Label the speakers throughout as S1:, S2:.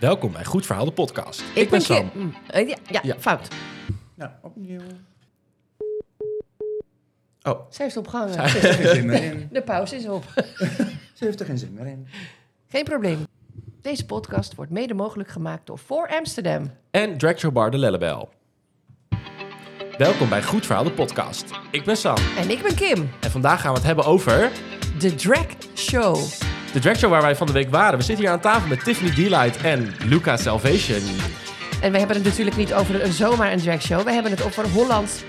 S1: Welkom bij Goed Verhaal, de podcast. Ik, ben
S2: Ki-
S1: Sam.
S2: Mm, eh, ja, ja,
S1: Ja.
S2: fout.
S3: Nou, opnieuw.
S1: Oh,
S2: Zij is opgehangen.
S3: Ze heeft er geen zin meer in.
S2: De pauze is op.
S3: Ze heeft er geen zin meer in.
S2: Geen probleem. Deze podcast wordt mede mogelijk gemaakt door Voor Amsterdam.
S1: en Drag Show Bar de Lellebel. Welkom bij Goed Verhaal, de podcast. Ik ben Sam.
S2: En ik ben Kim,
S1: En vandaag gaan we het hebben over
S2: de drag show.
S1: de Drag Show waar wij van de week waren. We zitten hier aan tafel met Tiffany Delight en Luca Salvation.
S2: En we hebben het natuurlijk niet over een zomaar een drag show. We hebben het over Hollands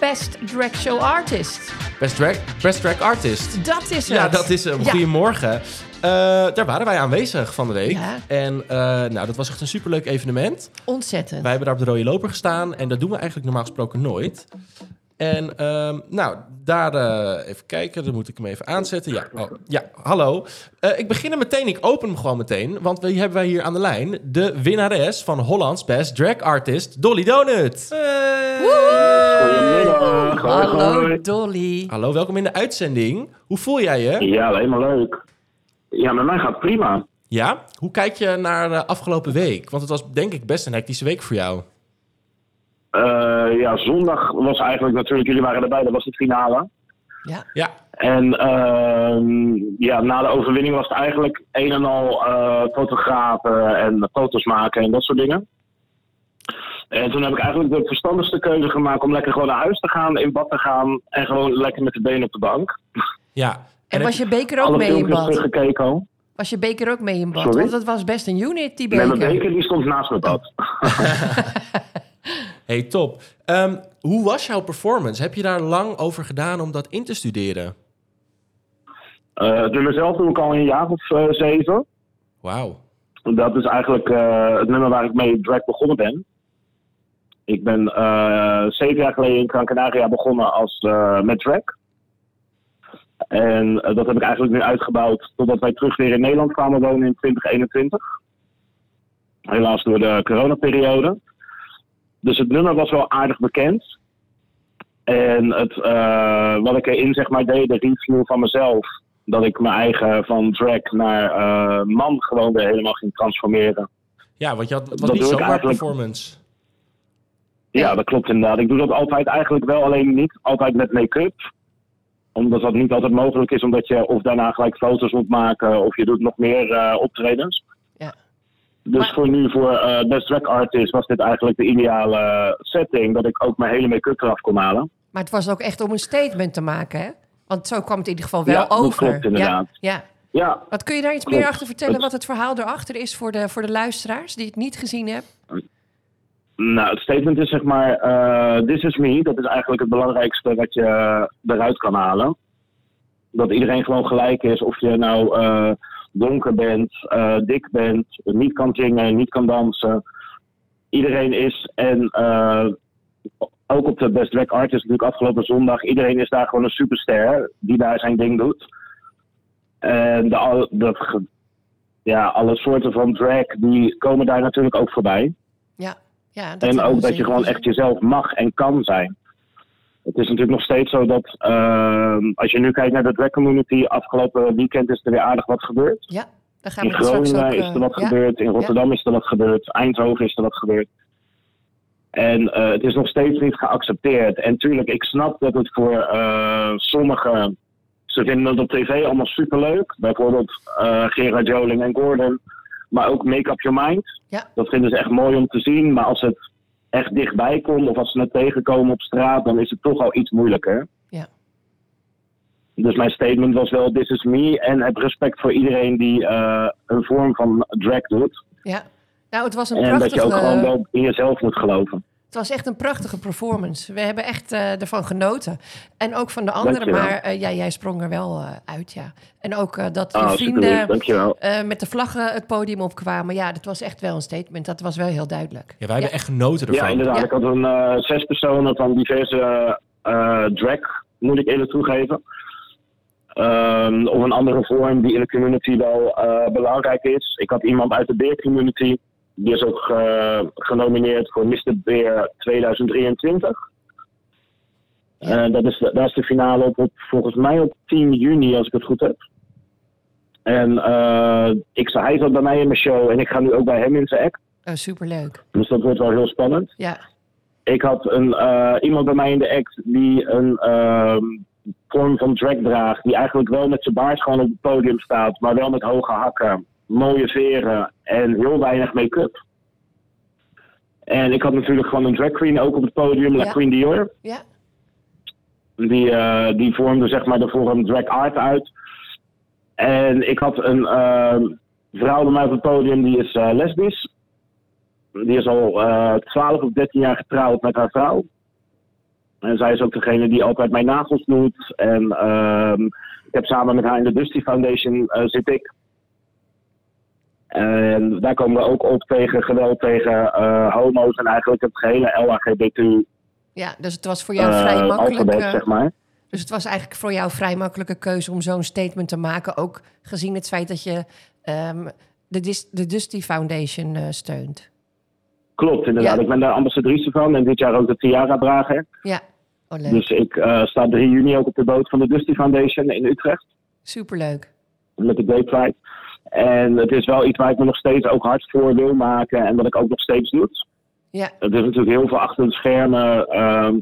S2: best drag show artist.
S1: Best Drag, best drag Artist.
S2: Dat is het.
S1: Ja, dat is hem.
S2: Ja.
S1: Goedemorgen. Eh, daar waren wij aanwezig van de week.
S2: Ja.
S1: En eh, nou, dat was echt een superleuk evenement.
S2: Ontzettend.
S1: Wij hebben daar op de rode loper gestaan. En dat doen we eigenlijk normaal gesproken nooit. En ehm, nou, daar eh, even kijken. Dan moet ik hem even aanzetten. Ja, oh, ja hallo. Eh, ik begin er meteen. Ik open hem gewoon meteen. Want we hebben wij hier aan de lijn de winnares van Hollands Best Drag Artist, Dolly Donut.
S4: Goedemiddag. Hoi,
S2: Hallo
S4: hoi.
S2: Dolly.
S1: Hallo, welkom in de uitzending. Hoe voel jij je?
S4: Ja, alleen maar leuk. Ja, met mij gaat het prima.
S1: Ja? Hoe kijk je naar de afgelopen week? Want het was denk ik best een hectische week voor jou.
S4: Eh, ja, zondag was eigenlijk natuurlijk, jullie waren erbij, dat was de finale.
S2: Ja.
S1: Ja,
S4: En ehm, ja, na de overwinning was het eigenlijk een en al eh, fotografen en foto's maken en dat soort dingen. En toen heb ik eigenlijk de verstandigste keuze gemaakt om lekker gewoon naar huis te gaan, in bad te gaan en gewoon lekker met de benen op de bank.
S1: ja.
S2: En
S1: heb
S2: was
S1: je-
S2: je beker ook
S4: Alle
S2: mee in
S4: filmpjes
S2: bad?
S4: teruggekeken al.
S2: Was je beker ook mee in bad?
S4: Sorry?
S2: Want dat was best een unit, die
S4: Nee, mijn
S2: beker.
S4: beker die stond naast mijn bad.
S1: Hey, top. Ehm, hoe was jouw performance? Heb je daar lang over gedaan om dat in te studeren?
S4: Eh het nummer zelf doe ik al een jaar of eh, zeven.
S1: Wauw.
S4: Dat is eigenlijk eh, het nummer waar ik mee drag begonnen ben. Ik ben eh, zeven jaar geleden in Gran Canaria begonnen als, eh, met drag. En eh, dat heb ik eigenlijk nu uitgebouwd totdat wij terug weer in Nederland kwamen wonen in 2021. Helaas door de coronaperiode. Dus het nummer was wel aardig bekend. En het, eh, wat ik erin zeg maar deed, de review van mezelf, dat ik mijn eigen van drag naar eh, man gewoon weer helemaal ging transformeren.
S1: Ja, want je had, het was
S4: Dat
S1: niet
S4: doe ik
S1: zomaar
S4: eigenlijk-
S1: performance.
S4: Ja, dat klopt inderdaad. Ik doe dat altijd eigenlijk wel, alleen niet altijd met make-up. Omdat dat niet altijd mogelijk is, omdat je of daarna gelijk foto's moet maken of je doet nog meer eh, optredens.
S2: Ja.
S4: Dus
S2: Maar-
S4: voor nu, voor eh, Best Drag Artist, was dit eigenlijk de ideale eh, setting. Dat ik ook mijn hele make-up eraf kon halen.
S2: Maar het was ook echt om een statement te maken, hè? Want zo kwam het in ieder geval wel
S4: Ja, dat
S2: over.
S4: klopt inderdaad.
S2: Ja, ja.
S4: Ja,
S2: Wat kun je daar iets
S4: Klopt.
S2: meer achter vertellen?
S4: Het-
S2: Wat het verhaal erachter is voor de, voor de luisteraars die het niet gezien hebben?
S4: Nou, het statement is zeg maar, eh this is me. Dat is eigenlijk het belangrijkste wat je eh, eruit kan halen. Dat iedereen gewoon gelijk is of je nou eh, donker bent, eh, dik bent, niet kan zingen, niet kan dansen. Iedereen is en eh, ook op de Best Drag Artist natuurlijk afgelopen zondag. Iedereen is daar gewoon een superster die daar zijn ding doet. En de, al- dat, ge- ja, alle soorten van drag die komen daar natuurlijk ook voorbij.
S2: Ja, ja. dat
S4: En
S2: hebben we
S4: ook dat je
S2: zeker
S4: gewoon
S2: gezien.
S4: echt jezelf mag en kan zijn. Het is natuurlijk nog steeds zo dat ehm, als je nu kijkt naar de drag community, afgelopen weekend is er weer aardig wat gebeurd.
S2: Ja, daar gaan we
S4: In
S2: het straks ook...
S4: Groningen is
S2: eh,
S4: er wat
S2: ja?
S4: gebeurd, in Rotterdam is er wat gebeurd, Eindhoven is er wat gebeurd. En eh, het is nog steeds niet geaccepteerd. En tuurlijk, ik snap dat het voor eh, sommigen, ze vinden het op tv allemaal superleuk. Bijvoorbeeld eh, Gerard Joling en Gordon. Maar ook Make Up Your Mind.
S2: Ja.
S4: Dat vinden ze echt mooi om te zien. Maar als het echt dichtbij komt of als ze het tegenkomen op straat, dan is het toch al iets moeilijker.
S2: Ja.
S4: Dus mijn statement was wel, this is me. En heb respect voor iedereen die eh, een vorm van drag doet.
S2: Ja. Nou, het was, een
S4: En dat je
S2: prachtige,
S4: ook gewoon wel in jezelf moet geloven.
S2: het was echt een prachtige performance. We hebben echt eh, ervan genoten. En ook van de anderen,
S4: Dankjewel.
S2: maar eh, ja, jij sprong er wel eh, uit, ja. En ook eh, dat je
S4: Ah,
S2: vrienden
S4: superlief, dankjewel.
S2: eh, met de vlaggen het podium opkwamen. Ja, dat was echt wel een statement. Dat was wel heel duidelijk.
S1: Ja, wij hebben echt genoten ervan.
S4: Ja, inderdaad.
S2: Ja.
S4: Ik had een eh, zes personen van diverse eh, drag, moet ik eerlijk toegeven. Ehm, of een andere vorm die in de community wel eh, belangrijk is. Ik had iemand uit de beer community. Die is ook eh, genomineerd voor Mr. Beer 2023. Eh, dat is de, daar is de finale op, op, volgens mij op 10 juni, als ik het goed heb. En eh, ik, hij zat bij mij in mijn show en ik ga nu ook bij hem in zijn act.
S2: Oh, superleuk.
S4: Dus dat wordt wel heel spannend.
S2: Ja.
S4: Ik had een, eh, iemand bij mij in de act die een ehm, vorm van drag draagt. Die eigenlijk wel met zijn baard gewoon op het podium staat. Maar wel met hoge hakken, mooie veren en heel weinig make-up. En ik had natuurlijk gewoon een drag queen ook op het podium, La
S2: Ja.
S4: Queen Dior.
S2: Ja.
S4: Die, eh, die vormde zeg maar de vorm drag art uit. En ik had een eh, vrouw bij mij op het podium, die is eh, lesbisch. Die is al eh 12 of 13 jaar getrouwd met haar vrouw. En zij is ook degene die altijd mijn nagels doet. En ehm, ik heb samen met haar in de Dusty Foundation eh, zit ik. En daar komen we ook op tegen geweld tegen eh, homo's en eigenlijk het gehele LHGBTQ
S2: Ja, dus het was voor jou vrij
S4: eh
S2: makkelijk.
S4: alfabet,
S2: eh,
S4: zeg maar.
S2: Dus het was eigenlijk voor jou een vrij makkelijke keuze om zo'n statement te maken. Ook gezien het feit dat je ehm, de, Dis- de Dusty Foundation eh, steunt.
S4: Klopt, inderdaad.
S2: Ja.
S4: Ik ben daar ambassadrice van en dit jaar ook de Tiara-drager.
S2: Ja, oh, leuk.
S4: Dus ik eh, sta 3 juni ook op de boot van de Dusty Foundation in Utrecht
S2: Superleuk.
S4: met de Gay Pride. En het is wel iets waar ik me nog steeds ook hard voor wil maken en wat ik ook nog steeds doe.
S2: Ja,
S4: Het is natuurlijk heel veel achter de schermen. ehm,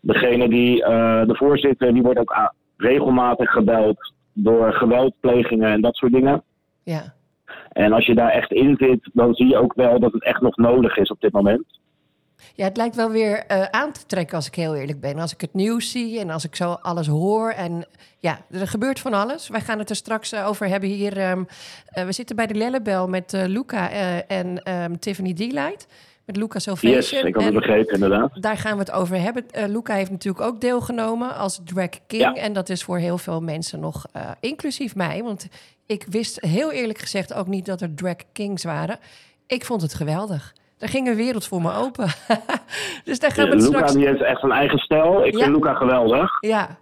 S4: degene die, eh, de voorzitter, die wordt ook a- regelmatig gebeld door geweldplegingen en dat soort dingen.
S2: ja,
S4: En als je daar echt in zit, dan zie je ook wel dat het echt nog nodig is op dit moment.
S2: ja het lijkt wel weer eh, aan te trekken als ik heel eerlijk ben. Als ik het nieuws zie en als ik zo alles hoor. En ja, er gebeurt van alles. Wij gaan het er straks eh, over hebben hier. ehm, eh, we zitten bij de Lellebel met eh, Luca eh, en ehm, Tiffany Delight. Met Luca Salvation.
S4: Yes, ik had het
S2: En-
S4: begrepen inderdaad.
S2: Daar gaan we het over hebben. Eh, Luca heeft natuurlijk ook deelgenomen als drag king.
S4: Ja.
S2: En dat is voor heel veel mensen nog, eh, inclusief mij. Want ik wist heel eerlijk gezegd ook niet dat er drag kings waren. Ik vond het geweldig. Daar ging een wereld voor me open. dus daar gaan we het
S4: Luca
S2: straks...
S4: die heeft echt een eigen stijl. Ik
S2: Ja.
S4: vind Luca geweldig.
S2: Ja,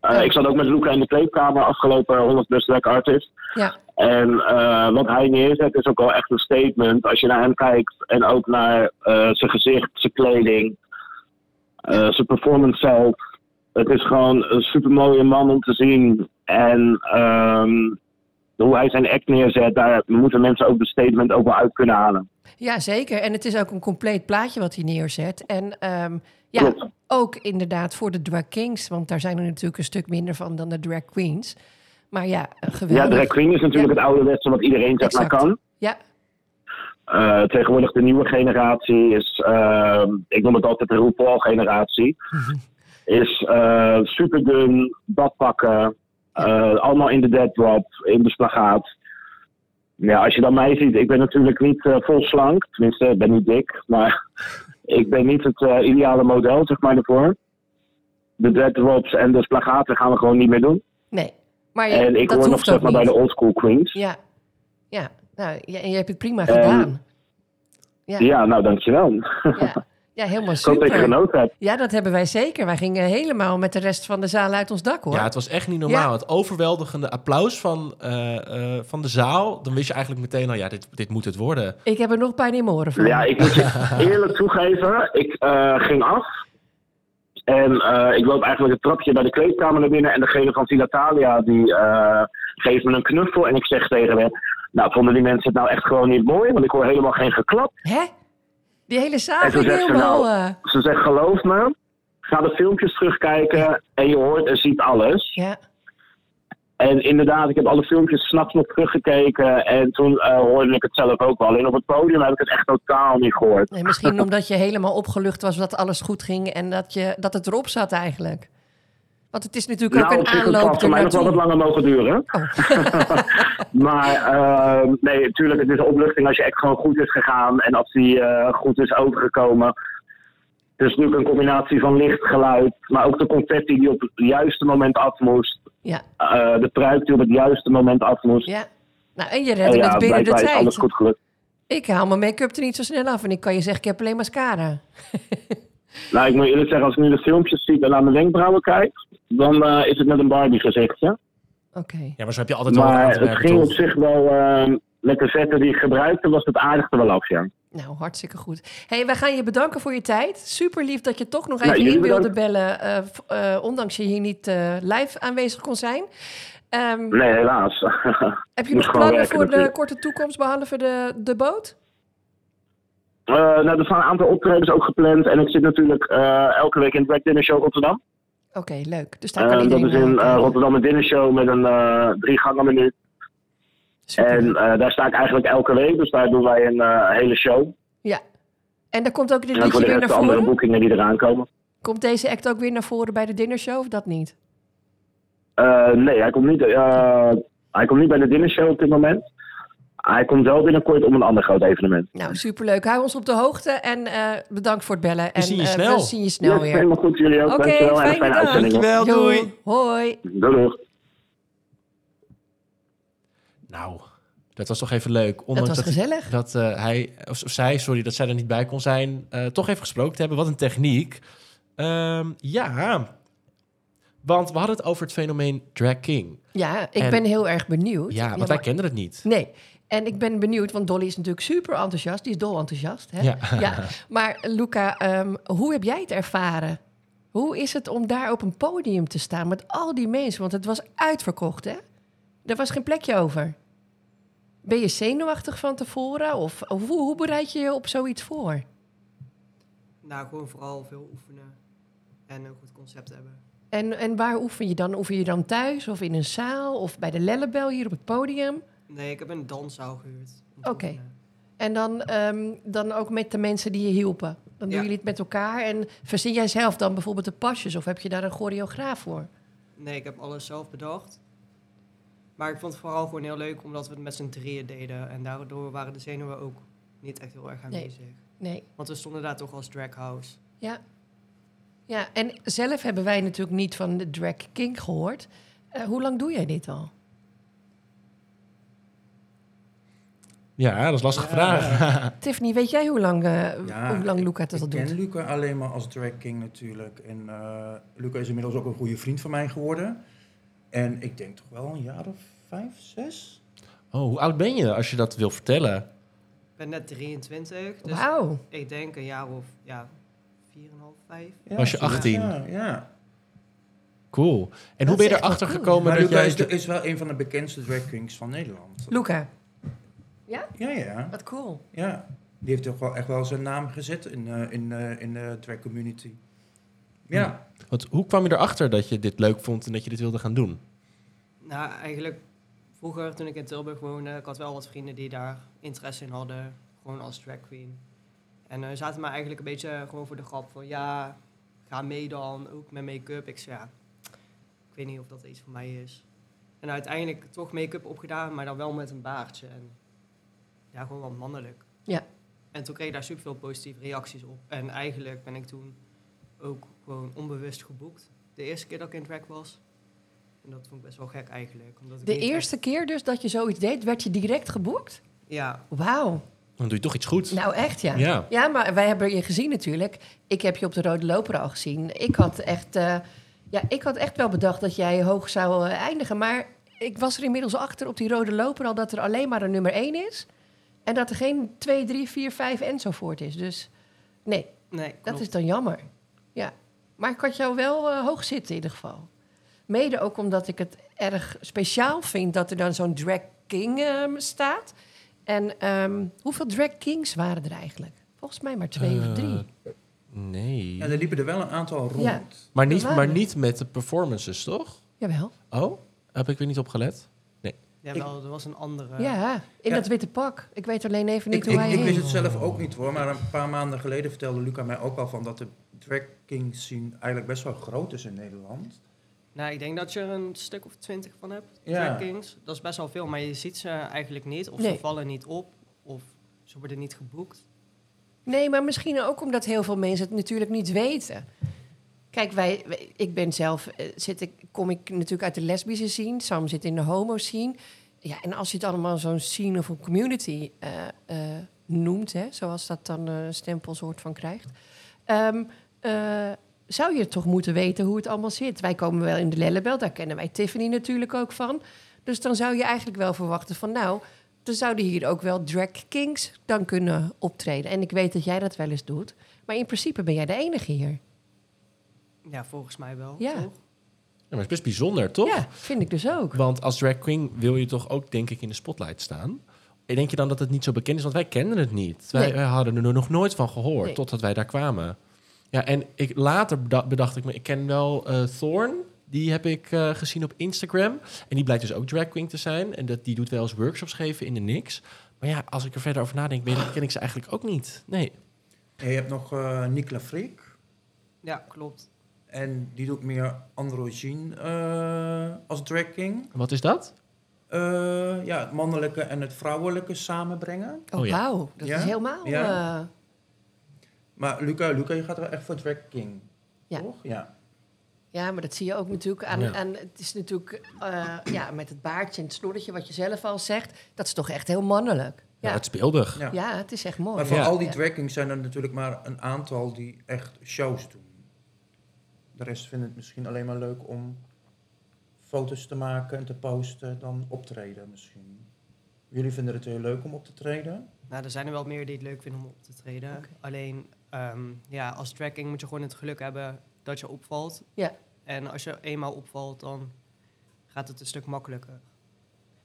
S4: Eh,
S2: Ja.
S4: Ik zat ook met Luca in de kleedkamer afgelopen 100 Best Black Artist.
S2: ja,
S4: En eh, wat hij neerzet is ook wel echt een statement. Als je naar hem kijkt en ook naar eh, zijn gezicht, zijn kleding, eh, zijn performance zelf. Het is gewoon een supermooie man om te zien. En ehm, hoe hij zijn act neerzet, daar moeten mensen ook de statement over uit kunnen halen.
S2: ja, zeker. En het is ook een compleet plaatje wat hij neerzet. En ehm, ja,
S4: Klopt.
S2: ook inderdaad voor de drag kings. Want daar zijn er natuurlijk een stuk minder van dan de drag queens. Maar ja,
S4: Ja,
S2: geweldig.
S4: drag queen is natuurlijk
S2: Ja.
S4: het ouderwetse wat iedereen zeg maar
S2: Exact.
S4: kan.
S2: Ja,
S4: Eh, tegenwoordig de nieuwe generatie is, eh, ik noem het altijd de RuPaul-generatie,
S2: Mhm.
S4: is eh super dun, badpakken, eh, allemaal in de dead drop, in de spagaat. Ja, als je dan mij ziet, ik ben natuurlijk niet eh, vol slank, tenminste, ik ben niet dik, maar ik ben niet het eh, ideale model, zeg maar, ervoor. De dead drops en de spagaten gaan we gewoon niet meer doen.
S2: Nee. Maar ja,
S4: en ik
S2: dat
S4: hoor nog
S2: hoeft
S4: zeg
S2: ook
S4: maar bij
S2: niet.
S4: de old school queens.
S2: Ja, ja. Nou, je, je hebt het prima
S4: En-
S2: gedaan. Ja.
S4: Ja, nou dankjewel.
S2: Ja. ja, helemaal
S4: Ik hoop dat je
S2: super.
S4: genoten hebt.
S2: Ja, dat hebben wij zeker. Wij gingen helemaal met de rest van de zaal uit ons dak, hoor.
S1: Ja, het was echt niet normaal.
S2: Ja.
S1: Het overweldigende applaus van, eh, eh, van de zaal. Dan wist je eigenlijk meteen al, ja, dit, dit moet het worden.
S2: Ik heb er nog pijn in mijn oren van.
S4: Ja, ik moet je eerlijk toegeven, ik eh, ging af. En eh, ik loop eigenlijk het trapje bij de kleedkamer naar binnen. En degene van Filatalia, die eh, geeft me een knuffel. En ik zeg tegen hem, nou vonden die mensen het nou echt gewoon niet mooi? Want ik hoor helemaal geen geklap.
S2: Hè? Die hele zaal
S4: En toen
S2: ging
S4: zegt ze
S2: helemaal...
S4: nou,
S2: eh,
S4: ze zegt geloof me, ga de filmpjes terugkijken. En je hoort en ziet alles.
S2: Ja,
S4: En inderdaad, ik heb alle filmpjes s'nachts nog teruggekeken. En toen eh, hoorde ik het zelf ook wel. Alleen op het podium heb ik het echt totaal niet gehoord.
S2: nee, misschien omdat je helemaal opgelucht was dat alles goed ging... en dat, je, dat het erop zat eigenlijk. Want het is natuurlijk
S4: Nou,
S2: ook een
S4: op zich, het
S2: aanloop
S4: had voor mij nog wel wat
S2: ernaartoe. Oh.
S4: langer mogen duren. maar ehm, nee, natuurlijk, het is een opluchting als je echt gewoon goed is gegaan en als die eh, goed is overgekomen. Dus natuurlijk een combinatie van licht, geluid, maar ook de confetti die op het juiste moment af moest.
S2: Ja,
S4: eh, de pruik die op het juiste moment af moest.
S2: ja. Nou, en je
S4: En
S2: redde
S4: Oh ja,
S2: het binnen de
S4: blijkbaar is alles
S2: tijd.
S4: goed gelukt.
S2: Ik haal mijn make-up er niet zo snel af. En ik kan je zeggen, ik heb alleen mascara.
S4: Nou, ik moet eerlijk zeggen, als ik nu de filmpjes zie en naar mijn wenkbrauwen kijk, dan eh, is het met een Barbie gezichtje.
S2: Oké.
S1: Ja, maar zo heb je altijd wel wat aan
S4: Maar
S1: te
S4: het
S1: werken,
S4: ging op
S1: toch?
S4: zich wel, eh, met de vetten die ik gebruikte, was het aardig er wel af, ja.
S2: Nou, hartstikke goed. hey, wij gaan je bedanken voor je tijd. Super lief dat je toch nog
S4: Nou,
S2: even
S4: jullie
S2: in wilde
S4: bedankt.
S2: bellen. eh, v- eh, ondanks je hier niet eh, live aanwezig kon zijn. Ehm,
S4: Nee, helaas. Eh,
S2: heb je
S4: moest
S2: nog
S4: gewoon
S2: plannen
S4: werken
S2: voor de
S4: natuurlijk.
S2: korte toekomst, behalve de, de boot?
S4: Eh, nou, er staan een aantal optredens ook gepland. En ik zit natuurlijk eh, elke week in de Black Dinner Show Rotterdam.
S2: Oké, leuk. Dus daar kan
S4: Eh, dat
S2: iedereen...
S4: is in
S2: eh,
S4: eh,
S2: kijken.
S4: Rotterdam een dinner show met een eh drie gangen menu.
S2: Super.
S4: En eh, daar sta ik eigenlijk elke week. Dus daar doen wij een eh, hele show.
S2: Ja. En dan komt ook dit
S4: en voor
S2: liedje
S4: de
S2: weer
S4: rest
S2: naar
S4: de andere
S2: voren?
S4: boekingen die eraan komen.
S2: Komt deze act ook weer naar voren bij de dinnershow of dat niet?
S4: Eh, nee, hij komt, niet, eh, hij komt niet bij de dinner show op dit moment. Hij komt wel binnenkort om een ander groot evenement.
S2: Nou, superleuk. Hou ons op de hoogte en eh, bedankt voor het bellen. En
S1: zien je
S2: eh,
S1: snel.
S2: we zien je snel
S4: Ja,
S2: weer.
S4: Helemaal goed, jullie ook.
S2: Oké,
S4: Dankjewel en een
S2: fijne
S4: fijne
S2: dag.
S4: uitzending. nog.
S1: Dankjewel, doei.
S2: Yo, Hoi.
S4: Doei, doei.
S1: Nou, dat was toch even leuk. Ondanks
S2: was gezellig.
S1: Dat eh, hij, of, of zij, sorry, dat zij er niet bij kon zijn, eh, toch even gesproken te hebben. Wat een techniek. Ehm, ja, want we hadden het over het fenomeen drag king.
S2: Ja, ik
S1: En-
S2: ben heel erg benieuwd.
S1: Ja, want
S2: maar-
S1: wij kenden het niet.
S2: Nee. En ik ben benieuwd, want Dolly is natuurlijk super enthousiast. Die is dol enthousiast. Hè?
S1: Ja.
S2: Maar Luca, ehm, hoe heb jij het ervaren? Hoe is het om daar op een podium te staan met al die mensen? Want het was uitverkocht, hè? Er was geen plekje over. Ben je zenuwachtig van tevoren? Of of hoe, hoe bereid je je op zoiets voor?
S5: Nou, gewoon vooral veel oefenen. En een goed concept hebben.
S2: En, en waar oefen je dan? Oefen je dan thuis of in een zaal of bij de Lellebel hier op het podium?
S5: Nee, ik heb een danszaal gehuurd. om te
S2: Oké.
S5: oefenen.
S2: En dan, ehm, dan ook met de mensen die je hielpen. Dan doen
S5: Ja.
S2: jullie het met elkaar. En verzin jij zelf dan bijvoorbeeld de pasjes? Of heb je daar een choreograaf voor?
S5: Nee, ik heb alles zelf bedacht. Maar ik vond het vooral gewoon heel leuk omdat we het met z'n drieën deden. En daardoor waren de zenuwen ook niet echt heel erg
S2: Nee.
S5: aanwezig.
S2: Nee.
S5: Want we stonden daar toch als drag house.
S2: Ja. Ja, en zelf hebben wij natuurlijk niet van de Drag King gehoord. Eh, hoe lang doe jij dit al?
S1: Ja, dat is lastige vraag.
S2: Tiffany, weet jij hoe lang, eh,
S3: Ja,
S2: hoe lang
S3: ik-
S2: Luca dat,
S3: ik
S2: al
S3: ken
S2: doet?
S3: Luca alleen maar als drag king natuurlijk. En eh, Luca is inmiddels ook een goede vriend van mij geworden. En ik denk toch wel een jaar of vijf, zes?
S1: Oh, hoe oud ben je als je dat wil vertellen?
S5: Ik ben net 23, dus
S2: Wauw.
S5: ik denk een jaar of ja, 4,5, 5.
S3: Ja,
S1: Was je
S3: zoiets,
S1: 18?
S3: Ja, ja.
S1: Cool. En hoe ben je
S2: is echt wel
S1: erachter
S2: cool.
S1: gekomen
S3: Maar
S1: dat
S3: Luca
S1: jij...
S3: is, de- is wel een van de bekendste drag kings van Nederland.
S2: Luca,
S3: Ja, ja,
S2: wat cool.
S3: ja. Die heeft toch wel echt wel zijn naam gezet in, eh, in, eh, in de drag community. Ja.
S1: Want hoe kwam je erachter dat je dit leuk vond en dat je dit wilde gaan doen?
S5: Nou, eigenlijk vroeger toen ik in Tilburg woonde, ik had wel wat vrienden die daar interesse in hadden, gewoon als drag queen. En eh zaten maar eigenlijk een beetje gewoon voor de grap van ja, ga mee dan, ook met make-up. Ik zei ja, ik weet niet of dat iets voor mij is. En uiteindelijk toch make-up opgedaan, maar dan wel met een baardje en ja, gewoon wat mannelijk.
S2: Ja.
S5: En toen kreeg ik daar superveel positieve reacties op. En eigenlijk ben ik toen ook gewoon onbewust geboekt. De eerste keer dat ik in drag was. En dat vond ik best wel gek eigenlijk. Omdat ik
S2: De
S5: niet echt-
S2: eerste keer dus dat je zoiets deed, werd je direct geboekt?
S5: Ja,
S2: Wauw.
S1: Dan doe je toch iets goed.
S2: Nou, echt ja.
S1: Ja.
S2: maar wij hebben je gezien natuurlijk. Ik heb je op de Rode Loper al gezien. Ik had echt, eh, ja, ik had echt wel bedacht dat jij hoog zou eh, eindigen. Maar ik was er inmiddels achter op die Rode Loper al dat er alleen maar een nummer één is. En dat er geen 2, 3, 4, 5 enzovoort is. Dus nee,
S5: nee,
S2: dat
S5: klopt.
S2: is dan jammer. Ja. Maar ik had jou wel eh, hoog zitten in ieder geval. Mede ook omdat ik het erg speciaal vind dat er dan zo'n drag king ehm, staat. En ehm, hoeveel drag kings waren er eigenlijk? Volgens mij maar twee
S1: Eh,
S2: of drie.
S1: Nee.
S3: Ja, er liepen er wel een aantal rond.
S2: Ja.
S1: Maar niet,
S2: Waar?
S1: maar niet met de performances, toch?
S2: Jawel.
S1: Oh, heb ik weer niet op gelet? Nee.
S5: Ja, wel, er was een andere.
S2: Ja, in
S3: eh, Ja.
S2: dat witte pak. Ik weet alleen even niet
S3: Ik,
S2: hoe
S3: ik,
S2: hij
S3: ik
S2: heet.
S3: wist het zelf ook niet hoor, maar een paar maanden geleden vertelde Luca mij ook al van dat de drag king scene eigenlijk best wel groot is in Nederland.
S5: Nou, ik denk dat je er een stuk of twintig van hebt.
S3: Ja.
S5: Drag kings. Dat is best wel veel, maar je ziet ze eigenlijk niet. Of
S2: Nee.
S5: ze vallen niet op. Of ze worden niet geboekt.
S2: Nee, maar misschien ook omdat heel veel mensen het natuurlijk niet weten. Kijk, wij, wij- ik ben zelf, eh, zit ik, kom ik natuurlijk uit de lesbische scene. Sam zit in de homo scene. Ja, en als je het allemaal zo'n scene of een community eh, eh, noemt, hè, zoals dat dan eh, een stempel soort van krijgt, ehm, eh, zou je toch moeten weten hoe het allemaal zit. Wij komen wel in de Lellebel, daar kennen wij Tiffany natuurlijk ook van. Dus dan zou je eigenlijk wel verwachten van, nou, dan zouden hier ook wel drag kings dan kunnen optreden. En ik weet dat jij dat wel eens doet. Maar in principe ben jij de enige hier.
S3: Oh,
S5: Ja, volgens mij wel.
S2: Ja.
S5: Toch?
S1: maar het is best bijzonder, toch?
S2: Ja, vind ik dus ook.
S1: Want als drag queen wil je toch ook, denk ik, in de spotlight staan. En Denk je dan dat het niet zo bekend is? Want wij kenden het niet. Wij,
S2: Nee.
S1: wij hadden er nog nooit van gehoord,
S2: Nee.
S1: totdat wij daar kwamen. Ja, en ik, later beda- bedacht ik me, ik ken wel eh, Thorn. Die heb ik eh, gezien op Instagram. En die blijkt dus ook drag queen te zijn. En dat, die doet wel eens workshops geven in de niks. Maar ja, als ik er verder over nadenk, weet ik, ken ik ze eigenlijk ook niet. Nee.
S3: En je hebt nog eh Nicola Freek.
S5: Ja, klopt.
S3: En die doet meer androgyne eh, als drag king.
S1: Wat is dat?
S3: Eh, ja, het mannelijke en het vrouwelijke samenbrengen.
S2: Oh,
S1: Oh ja.
S2: wauw. Dat
S3: Ja?
S2: is helemaal...
S3: Ja.
S2: eh,
S3: Maar Luca, Luca, je gaat wel echt voor drag king,
S2: Ja.
S3: toch? Ja.
S2: Ja, maar dat zie je ook natuurlijk aan.
S1: Ja.
S2: aan het is natuurlijk eh, ja, met het baardje en het snorretje, wat je zelf al zegt, dat is toch echt heel mannelijk.
S1: Ja,
S2: Ja,
S1: het speeldig.
S3: ja.
S2: ja het is echt mooi.
S3: Maar van
S1: Oh, Ja.
S3: al die drag kings zijn er natuurlijk maar een aantal die echt shows doen. De rest vindt het misschien alleen maar leuk om foto's te maken en te posten dan optreden misschien. Jullie vinden het heel leuk om op te treden?
S5: Nou, er zijn er wel meer die het leuk vinden om op te treden.
S2: Oké.
S5: Alleen, ehm, ja, als tracking moet je gewoon het geluk hebben dat je opvalt.
S2: Ja.
S5: En als je eenmaal opvalt, dan gaat het een stuk makkelijker.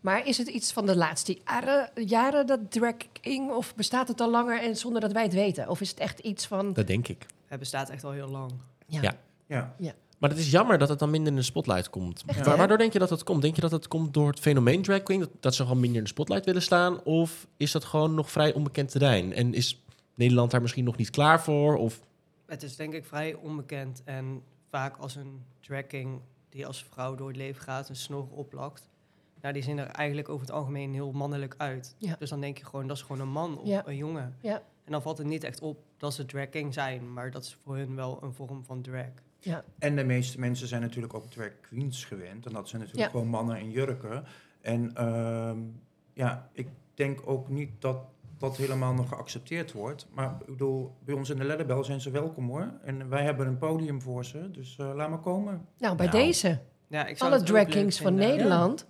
S2: Maar is het iets van de laatste jaren, jaren dat drag king, of bestaat het al langer en zonder dat wij het weten? Of is het echt iets van...
S1: Dat denk ik.
S5: Het bestaat echt al heel lang.
S2: Ja,
S1: Ja.
S3: Ja.
S1: Maar het is jammer dat het dan minder in de spotlight komt.
S2: Echt,
S1: Wa-
S2: hè?
S1: waardoor denk je dat dat komt? Denk je dat dat komt door het fenomeen drag queen? Dat, dat ze gewoon minder in de spotlight willen staan? Of is dat gewoon nog vrij onbekend terrein? En is Nederland daar misschien nog niet klaar voor? Of
S5: Het is denk ik vrij onbekend. En vaak als een tracking die als vrouw door het leven gaat, een snor oplakt. Nou, die zien er eigenlijk over het algemeen heel mannelijk uit.
S2: Ja.
S5: Dus dan denk je gewoon, dat is gewoon een man of
S2: Ja.
S5: een jongen.
S2: Ja.
S5: En dan valt het niet echt op dat ze dragging zijn, maar dat is voor hun wel een vorm van drag.
S3: En de meeste mensen zijn natuurlijk ook drag queens gewend. En dat zijn natuurlijk
S2: Ja.
S3: gewoon mannen in jurken. En ehm, ja, ik denk ook niet dat dat helemaal nog geaccepteerd wordt. Maar ik bedoel, bij ons in de Ledderbel zijn ze welkom hoor. En wij hebben een podium voor ze, dus eh, laat maar komen.
S2: Nou, bij
S1: Nou,
S2: deze.
S5: Ja, ik zou
S2: Alle
S5: het ook leuk
S2: drag kings van
S5: vinden.
S2: Nederland.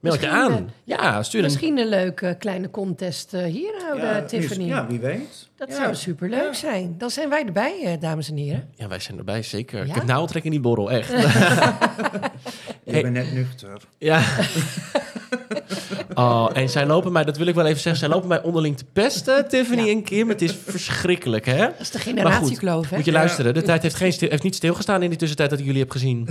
S1: meld je
S2: Misschien, eh,
S1: aan? ja, stuur een...
S2: Misschien een leuke kleine contest eh, hier houden,
S3: Ja,
S2: Tiffany.
S3: is- Ja, wie weet.
S2: Dat
S3: Ja.
S2: zou superleuk
S3: Ja.
S2: zijn. Dan zijn wij erbij, eh, dames en heren.
S1: Ja, wij zijn erbij, zeker.
S2: Ja?
S1: Ik heb nauw trek in die borrel, echt.
S3: Ik ben net nuchter.
S1: Ja. Oh, en zij lopen mij, dat wil ik wel even zeggen, zij lopen mij onderling te pesten, Tiffany
S2: Ja.
S1: en Kim. Het is verschrikkelijk, hè?
S2: Dat is de
S1: goed,
S2: generatiekloof, hè?
S1: Moet je
S3: Ja.
S1: luisteren, de tijd heeft, geen stil- heeft niet stilgestaan in die tussentijd dat ik jullie heb gezien.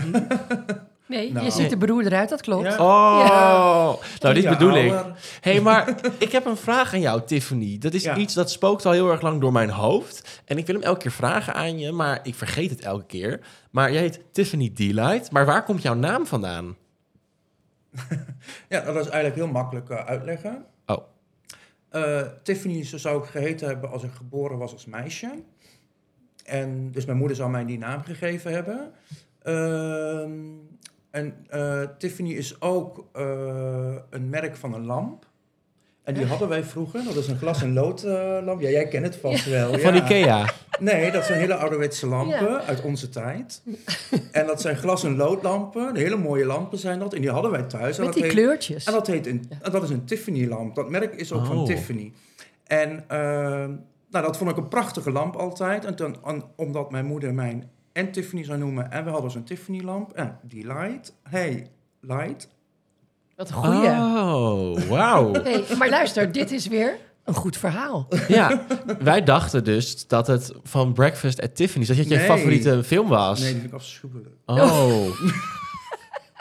S2: Nee,
S3: Nou.
S2: je ziet er beroerd uit, dat klopt.
S3: Ja.
S1: Oh, nou dit
S3: Ja,
S1: bedoel ik.
S3: ouwer.
S1: Hé, hey, maar ik heb een vraag aan jou, Tiffany. Dat is
S3: Ja.
S1: iets dat spookt al heel erg lang door mijn hoofd. En ik wil hem elke keer vragen aan je, maar ik vergeet het elke keer. Maar jij heet Tiffany Delight. Maar waar komt jouw naam vandaan?
S3: Ja, dat is eigenlijk heel makkelijk eh, uitleggen.
S1: Oh.
S3: Eh, Tiffany zo zou ik geheten hebben als ik geboren was als meisje. En dus mijn moeder zou mij die naam gegeven hebben. Ehm, en eh, Tiffany is ook eh, een merk van een lamp. En die hadden wij vroeger. Dat is een glas- en loodlamp. ja, jij kent het vast wel.
S1: Van
S3: ja.
S1: Ikea.
S3: Nee, dat zijn hele ouderwetse lampen
S2: Ja.
S3: uit onze tijd. En dat zijn glas- en loodlampen. Hele mooie lampen zijn dat. En die hadden wij thuis. en
S2: Met die
S3: dat heet-
S2: kleurtjes.
S3: en dat, heet een, en dat is een Tiffany-lamp. Dat merk is ook van
S1: Oh.
S3: Tiffany. En ehm, nou, dat vond ik een prachtige lamp altijd. En toen, an- omdat mijn moeder mijn en Tiffany zou noemen... en we hadden zo'n Tiffany-lamp. En die light. Hey, light.
S2: Wat een goeie.
S1: Oh, wauw.
S2: Hey, maar luister, dit is weer een goed verhaal.
S1: Ja, wij dachten dus dat het van Breakfast at Tiffany's, dat je je
S3: Nee.
S1: favoriete film was.
S3: Nee, die vind ik afschuwelijk.
S1: Oh.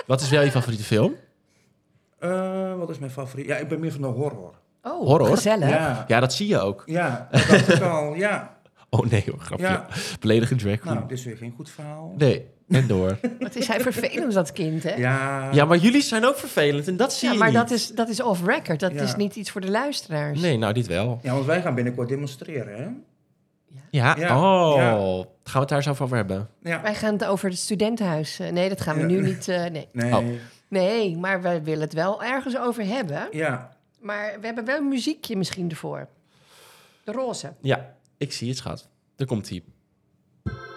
S1: Wat is wel je favoriete film?
S3: Eh, wat is mijn favoriet? Ja, ik ben meer van de horror.
S2: Oh,
S1: Horror.
S2: gezellig.
S3: Ja,
S1: Ja, dat zie je ook.
S3: ja dat dacht ik al. Ja,
S1: Oh nee hoor, grapje.
S3: ja.
S1: Beledigend drag queen.
S3: Nou, dit is weer geen goed verhaal.
S1: Nee, en door.
S2: Wat is hij vervelend, dat kind, hè?
S3: Ja,
S1: Ja, maar jullie zijn ook vervelend en dat zie
S2: Ja,
S1: je
S2: maar
S1: niet.
S2: dat is, dat is off-record. Dat
S3: Ja.
S2: is niet iets voor de luisteraars.
S1: Nee, nou dit wel.
S3: Ja, want wij gaan binnenkort demonstreren, hè?
S1: Ja,
S3: Ja,
S1: oh.
S3: ja.
S1: Gaan we het daar zo over hebben?
S3: Ja.
S2: Wij gaan het over het studentenhuis. eh, Nee, dat gaan we
S3: Ja.
S2: nu niet. eh, nee.
S3: Nee,
S1: Oh.
S2: nee, maar we willen het wel ergens over hebben.
S3: ja.
S2: Maar we hebben wel een muziekje misschien ervoor. De roze.
S1: Ja, ik zie het, schat. Er komt ie.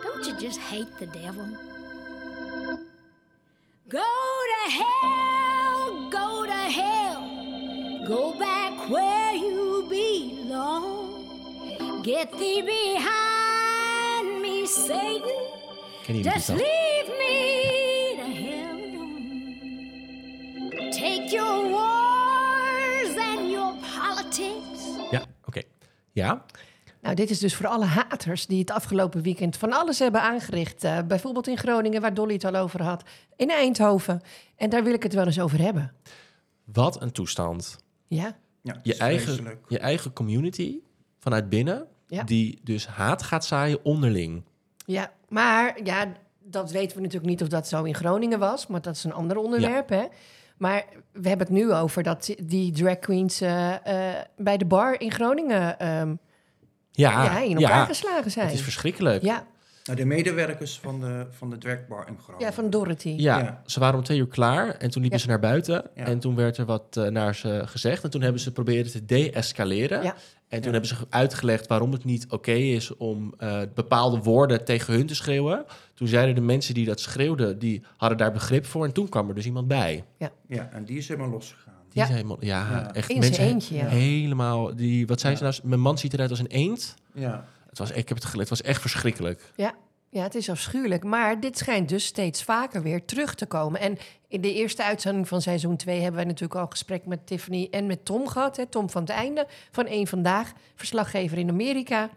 S6: Don't you just hate the devil? Go to hell, go to hell, go back where you belong. Get thee behind me, Satan.
S1: Ken jullie
S6: Just
S1: dit al?
S6: leave me to
S1: Ja?
S2: Nou, dit is dus voor alle haters die het afgelopen weekend van alles hebben aangericht. Eh, bijvoorbeeld in Groningen, waar Dolly het al over had. In Eindhoven. En daar wil ik het wel eens over hebben.
S1: Wat een toestand.
S2: Ja,
S3: Ja, dat
S1: Je
S3: is
S1: eigen,
S3: vreselijk.
S1: je eigen community vanuit binnen,
S2: Ja.
S1: die dus haat gaat zaaien onderling.
S2: ja. maar ja, dat weten we natuurlijk niet of dat zo in Groningen was. Maar dat is een ander onderwerp, hè. Maar we hebben het nu over dat die drag queens eh, eh, bij de bar in Groningen ehm,
S1: Ah, Ja,
S2: ja, in elkaar geslagen zijn.
S1: het is verschrikkelijk.
S2: ja,
S3: Nou, de medewerkers van de, van de dragbar in Groningen.
S2: ja, van Dorothy.
S1: Ja,
S3: Ja.
S1: ze waren om twee uur klaar en toen liepen
S2: Ja.
S1: ze naar buiten.
S3: Ja.
S1: En toen werd er wat eh, naar ze gezegd. En toen hebben ze proberen te deescaleren.
S2: Ja.
S1: En toen
S3: Ja.
S1: hebben ze ge- uitgelegd waarom het niet oké is om eh, bepaalde woorden tegen hun te schreeuwen. Toen zeiden de mensen die dat schreeuwden, die hadden daar begrip voor. En toen kwam er dus iemand bij.
S3: Ja, en die is helemaal losgegaan.
S1: Die
S2: Ja.
S1: zei, man- ja,
S3: Ja.
S1: echt
S2: In zijn
S1: mensen he-
S2: eentje, ja.
S1: helemaal. Die, wat zei
S3: Ja.
S1: ze nou? Mijn man ziet eruit als een eend.
S3: Ja.
S1: Het was, ik heb het geleerd, het was echt verschrikkelijk.
S2: Ja, het is afschuwelijk. Maar dit schijnt dus steeds vaker weer terug te komen. En in de eerste uitzending van seizoen 2 hebben wij natuurlijk al een gesprek met Tiffany en met Tom gehad. Hè, Tom van het Einde van Eén Vandaag, verslaggever in Amerika.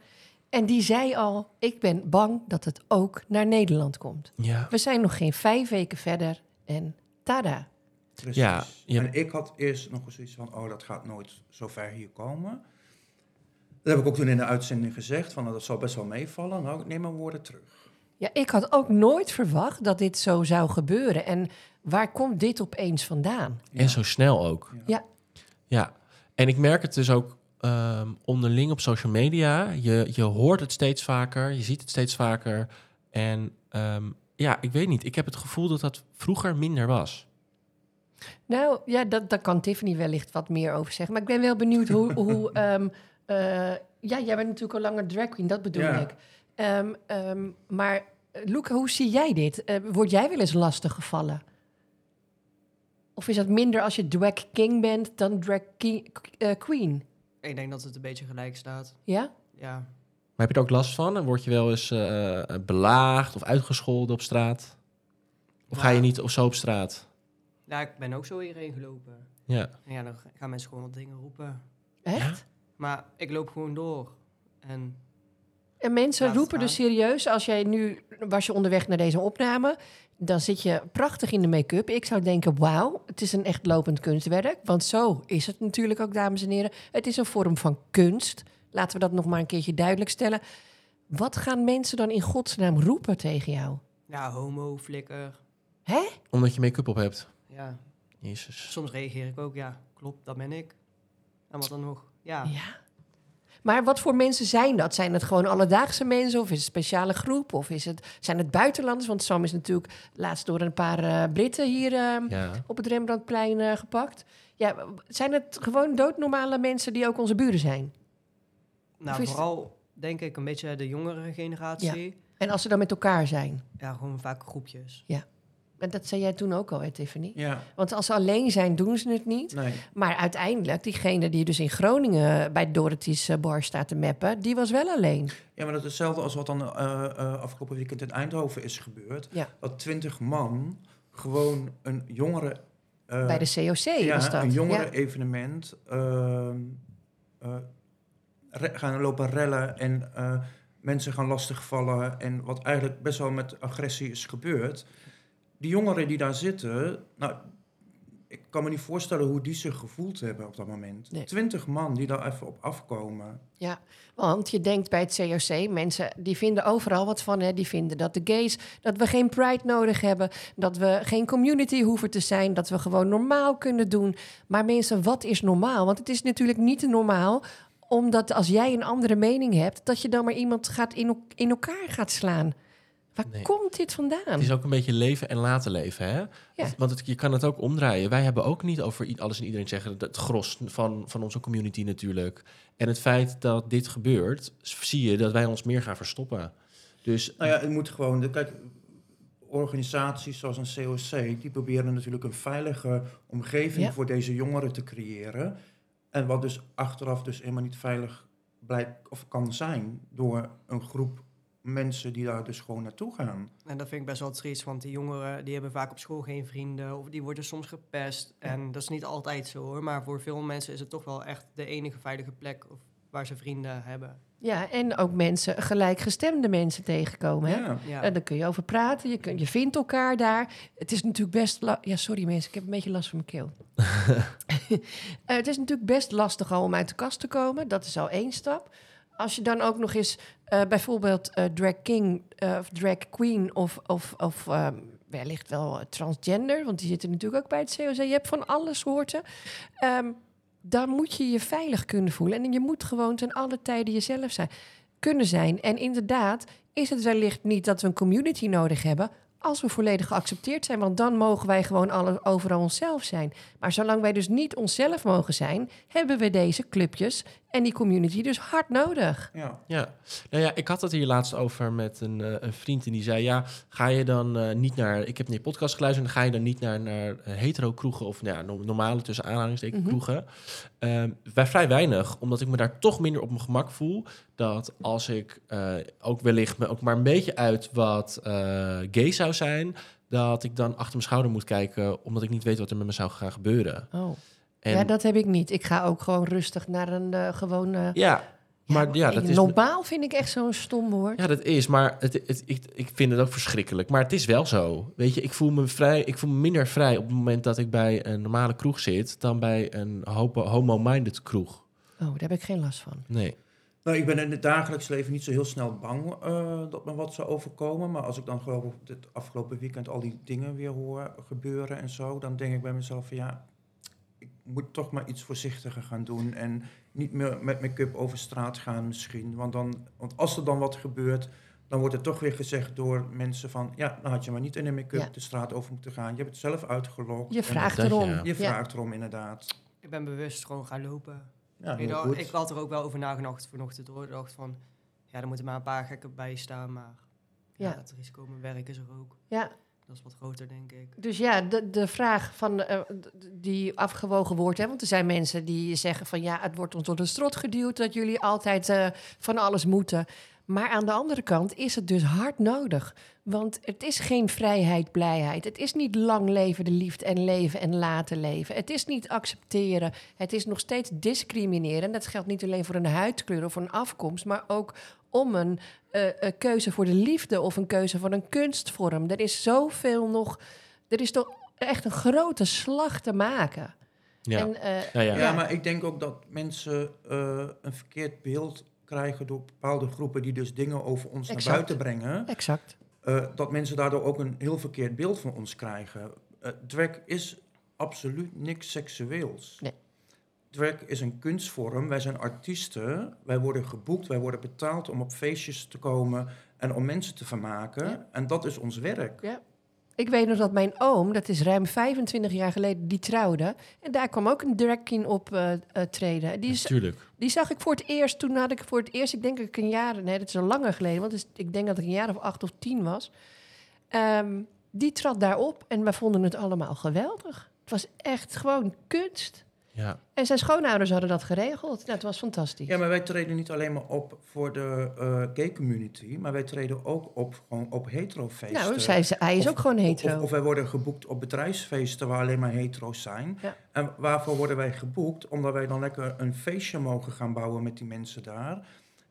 S2: En die zei al, ik ben bang dat het ook naar Nederland komt.
S1: Ja.
S2: We zijn nog geen vijf weken verder en tada.
S3: Precies.
S1: Ja, je-
S3: En ik had eerst nog eens zoiets van, oh, dat gaat nooit zo ver hier komen. Dat heb ik ook toen in de uitzending gezegd, van nou, dat zal best wel meevallen. Nou, ik neem mijn woorden terug.
S2: Ja, ik had ook nooit verwacht dat dit zo zou gebeuren. En waar komt dit opeens vandaan?
S1: En zo snel ook.
S2: Ja.
S1: Ja, en ik merk het dus ook ehm, onderling op social media. Je, je hoort het steeds vaker, je ziet het steeds vaker. En ehm, ja, ik weet niet. Ik heb het gevoel dat dat vroeger minder was.
S2: Nou ja, dat, daar kan Tiffany wellicht wat meer over zeggen. Maar ik ben wel benieuwd hoe. hoe ehm, eh, ja, jij bent natuurlijk al langer drag queen, dat bedoel
S3: Ja.
S2: ik. Ehm, ehm, maar eh, Luca, hoe zie jij dit? Eh, word jij wel eens lastig gevallen? Of is dat minder als je drag king bent dan drag ki- eh, queen?
S5: Ik denk dat het een beetje gelijk staat.
S2: Ja?
S5: Ja.
S1: Maar heb je er ook last van? En word je wel eens eh, belaagd of uitgescholden op straat? Of ga je niet of zo op straat?
S5: Ja, ik ben ook zo hierheen gelopen.
S1: Ja.
S5: En ja, dan gaan mensen gewoon wat dingen roepen.
S2: Echt?
S5: Maar ik loop gewoon door. En
S2: En mensen
S5: Laat het
S2: roepen dus
S5: gaan.
S2: serieus, als jij nu was je onderweg naar deze opname, dan zit je prachtig in de make-up. Ik zou denken, wauw, het is een echt lopend kunstwerk. Want zo is het natuurlijk ook, dames en heren. Het is een vorm van kunst. Laten we dat nog maar een keertje duidelijk stellen. Wat gaan mensen dan in godsnaam roepen tegen jou?
S5: ja, homo, flikker.
S2: Hè?
S1: Omdat je make-up op hebt.
S5: Ja.
S1: Jezus.
S5: Soms reageer ik ook, ja, klopt, dat ben ik. En wat dan nog? Ja.
S2: Ja. Maar wat voor mensen zijn dat? Zijn het gewoon alledaagse mensen of is het een speciale groep? Of is het, zijn het buitenlanders? Want Sam is natuurlijk laatst door een paar eh, Britten hier ehm,
S1: Ja.
S2: op het Rembrandtplein eh, gepakt. Ja, w- zijn het gewoon doodnormale mensen die ook onze buren zijn? Of
S5: Nou,
S2: is-
S5: vooral denk ik een beetje de jongere generatie. Ja,
S2: En als ze dan met elkaar zijn.
S5: gewoon vaak groepjes.
S2: En dat zei jij toen ook al, hè, Tiffany?
S3: Ja,
S2: Want als ze alleen zijn, doen ze het niet.
S3: nee.
S2: Maar uiteindelijk, diegene die dus in Groningen bij Dorothy's eh, bar staat te mappen, die was wel alleen.
S3: Ja, maar dat is hetzelfde als wat dan eh, eh, afgelopen weekend in Eindhoven is gebeurd.
S2: Ja.
S3: Dat twintig man gewoon een jongere... eh,
S2: bij de COC
S3: ja,
S2: was dat.
S3: een jongere
S2: Ja.
S3: evenement ehm, eh, re- gaan lopen rellen en eh, mensen gaan lastigvallen. En wat eigenlijk best wel met agressie is gebeurd. Die jongeren die daar zitten, nou, ik kan me niet voorstellen hoe die zich gevoeld hebben op dat moment.
S2: Nee.
S3: Twintig man die daar even op afkomen.
S2: Ja, want je denkt bij het COC, mensen die vinden overal wat van. Hè? Die vinden dat de gays, dat we geen pride nodig hebben. Dat we geen community hoeven te zijn. Dat we gewoon normaal kunnen doen. Maar mensen, wat is normaal? Want het is natuurlijk niet normaal omdat als jij een andere mening hebt... dat je dan maar iemand gaat in, el- in elkaar gaat slaan. Waar
S1: Nee.
S2: komt dit vandaan?
S1: Het is ook een beetje leven en laten leven, hè? Want- Want het- je kan het ook omdraaien. Wij hebben ook niet over i- alles en iedereen zeggen... het gros van, van onze community natuurlijk. En het feit dat dit gebeurt... s- zie je dat wij ons meer gaan verstoppen. Dus
S3: Nou ja, het moet gewoon. de- Kijk, organisaties zoals een COC, die proberen natuurlijk een veilige omgeving
S2: Ja.
S3: voor deze jongeren te creëren. En wat dus achteraf dus helemaal niet veilig blijkt of kan zijn door een groep mensen die daar dus gewoon naartoe gaan.
S5: En dat vind ik best wel triest, want die jongeren die hebben vaak op school geen vrienden. Of die worden soms gepest. En dat is niet altijd zo hoor. Maar voor veel mensen is het toch wel echt de enige veilige plek. Of waar ze vrienden hebben.
S2: Ja, en ook mensen, gelijkgestemde mensen tegenkomen. Hè?
S3: Ja.
S5: Ja.
S2: En Eh, daar kun je over praten, je, kun, je vindt elkaar daar. Het is natuurlijk best... la- Ja, sorry mensen, ik heb een beetje last van mijn keel. Eh, het is natuurlijk best lastig al om uit de kast te komen. Dat is al één stap. Als je dan ook nog eens eh, bijvoorbeeld eh, drag king eh, of drag queen... of, of, of ehm, wellicht wel eh, transgender, want die zitten natuurlijk ook bij het COC. Je hebt van alle soorten. Ehm, dan moet je je veilig kunnen voelen. En je moet gewoon ten alle tijden jezelf zijn, kunnen zijn. En inderdaad is het wellicht niet dat we een community nodig hebben... als we volledig geaccepteerd zijn. Want dan mogen wij gewoon alle, overal onszelf zijn. Maar zolang wij dus niet onszelf mogen zijn... hebben we deze clubjes en die community dus hard nodig.
S3: Ja.
S1: Ja, nou ja, ik had het hier laatst over met een, eh, een vriend en die zei: Ja, ga je dan eh, niet naar. Ik heb een podcast geluisterd en ga je dan niet naar, naar hetero-kroegen of nou ja, no- normale tussen aanhalingstekens kroegen? Ehm, wij vrij weinig, omdat ik me daar toch minder op mijn gemak voel. Dat als ik eh, ook wellicht me ook maar een beetje uit wat eh, gay zou zijn, dat ik dan achter mijn schouder moet kijken, omdat ik niet weet wat er met me zou gaan gebeuren.
S2: Oh.
S1: En,
S2: Ja, dat heb ik niet. Ik ga ook gewoon rustig naar een eh gewoon... eh,
S1: ja, maar ja, dat is.
S2: Normaal vind ik echt zo'n stom woord.
S1: Ja, dat is, maar het, het, ik, ik vind het ook verschrikkelijk. Maar het is wel zo. Weet je, ik voel me, vrij, ik voel me minder vrij op het moment dat ik bij een normale kroeg zit... dan bij een hopo- homo-minded kroeg.
S2: Oh, daar heb ik geen last van.
S1: Nee.
S3: Nou, ik ben in het dagelijks leven niet zo heel snel bang eh, dat me wat zou overkomen. Maar als ik dan geloof ik dit afgelopen weekend al die dingen weer hoor gebeuren en zo, dan denk ik bij mezelf van ja, ik moet toch maar iets voorzichtiger gaan doen. En niet meer met make-up over straat gaan misschien. Want, dan, want als er dan wat gebeurt, dan wordt er toch weer gezegd door mensen van ja, dan had je maar niet in een make-up
S2: Ja.
S3: de straat over moeten gaan. Je hebt het zelf uitgelokt.
S2: Je
S3: En
S2: vraagt
S1: dat,
S2: erom.
S1: ja.
S3: Je
S2: Ja.
S3: vraagt erom inderdaad.
S5: Ik ben bewust gewoon gaan lopen.
S3: Ja,
S5: Weet je
S3: Ah, heel
S5: wel,
S3: goed.
S5: ik had er ook wel over nagedacht vanochtend hoor. Ik dacht van, ja, er moeten maar een paar gekken bij staan. Maar ja.
S2: Ja.
S5: het risico op mijn werk is er ook.
S2: Ja,
S5: Dat is wat groter, denk ik.
S2: Dus ja, de, de vraag van, eh, d- die afgewogen wordt. Hè? Want er zijn mensen die zeggen van ja, het wordt ons door de strot geduwd dat jullie altijd eh, van alles moeten. Maar aan de andere kant is het dus hard nodig. Want het is geen vrijheid, blijheid. Het is niet lang leven de liefde en leven en laten leven. Het is niet accepteren. Het is nog steeds discrimineren. En dat geldt niet alleen voor een huidskleur of een afkomst, maar ook om een eh, eh, keuze voor de liefde of een keuze voor een kunstvorm. Er is zoveel nog. Er is toch echt een grote slag te maken.
S1: Ja.
S2: En, eh,
S1: ja, ja.
S3: Ja,
S2: Ja.
S3: maar ik denk ook dat mensen eh, een verkeerd beeld krijgen door bepaalde groepen die dus dingen over ons
S2: Exact.
S3: naar buiten brengen.
S2: exact.
S3: eh, dat mensen daardoor ook een heel verkeerd beeld van ons krijgen. Eh, drag is absoluut niks seksueels.
S2: Nee.
S3: Drag is een kunstvorm. Wij zijn artiesten. Wij worden geboekt. Wij worden betaald om op feestjes te komen en om mensen te vermaken.
S2: Ja.
S3: En dat is ons werk.
S2: Ik weet nog dat mijn oom, dat is ruim 25 jaar geleden, die trouwde. En daar kwam ook een drag queen op eh, eh, treden. Die, is,
S1: Natuurlijk.
S2: die zag ik voor het eerst, toen had ik voor het eerst, ik denk dat ik een jaar, nee dat is al langer geleden, want het is- ik denk dat ik een jaar of acht of tien was. Ehm, die trad daarop en we vonden het allemaal geweldig. Het was echt gewoon kunst.
S1: Ja.
S2: En zijn schoonouders hadden dat geregeld. Nou, het was fantastisch.
S3: Ja, maar wij treden niet alleen maar op voor de eh, gay community, maar wij treden ook op, gewoon op heterofeesten.
S2: nou, zei ze, hij is
S3: Of-
S2: ook gewoon hetero.
S3: Of, of wij worden geboekt op bedrijfsfeesten waar alleen maar hetero's zijn.
S2: Ja.
S3: En waarvoor worden wij geboekt? Omdat wij dan lekker een feestje mogen gaan bouwen met die mensen daar.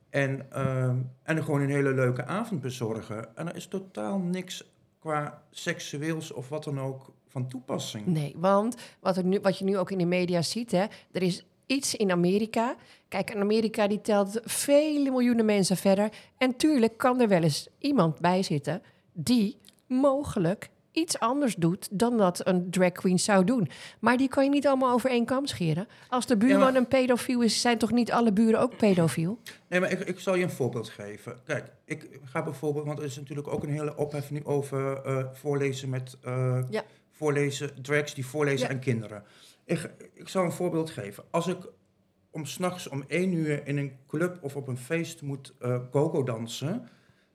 S3: En, ehm, en gewoon een hele leuke avond bezorgen. En er is totaal niks qua seksueels of wat dan ook van toepassing.
S2: Nee, want wat, er nu, wat je nu ook in de media ziet, hè, er is iets in Amerika. Kijk, en Amerika die telt vele miljoenen mensen verder. En tuurlijk kan er wel eens iemand bij zitten die mogelijk iets anders doet dan dat een drag queen zou doen. Maar die kan je niet allemaal over één kam scheren. Als de buurman
S3: maar-
S2: een pedofiel is, zijn toch niet alle buren ook pedofiel?
S3: Nee, maar ik, ik zal je een voorbeeld geven. Kijk, ik ga bijvoorbeeld, want er is natuurlijk ook een hele ophef nu over eh, voorlezen met eh,
S2: Ja.
S3: voorlezen, drags die voorlezen
S2: Ja.
S3: aan kinderen. Ik, ik zal een voorbeeld geven. Als ik om s'nachts om één uur in een club of op een feest moet eh go-go dansen,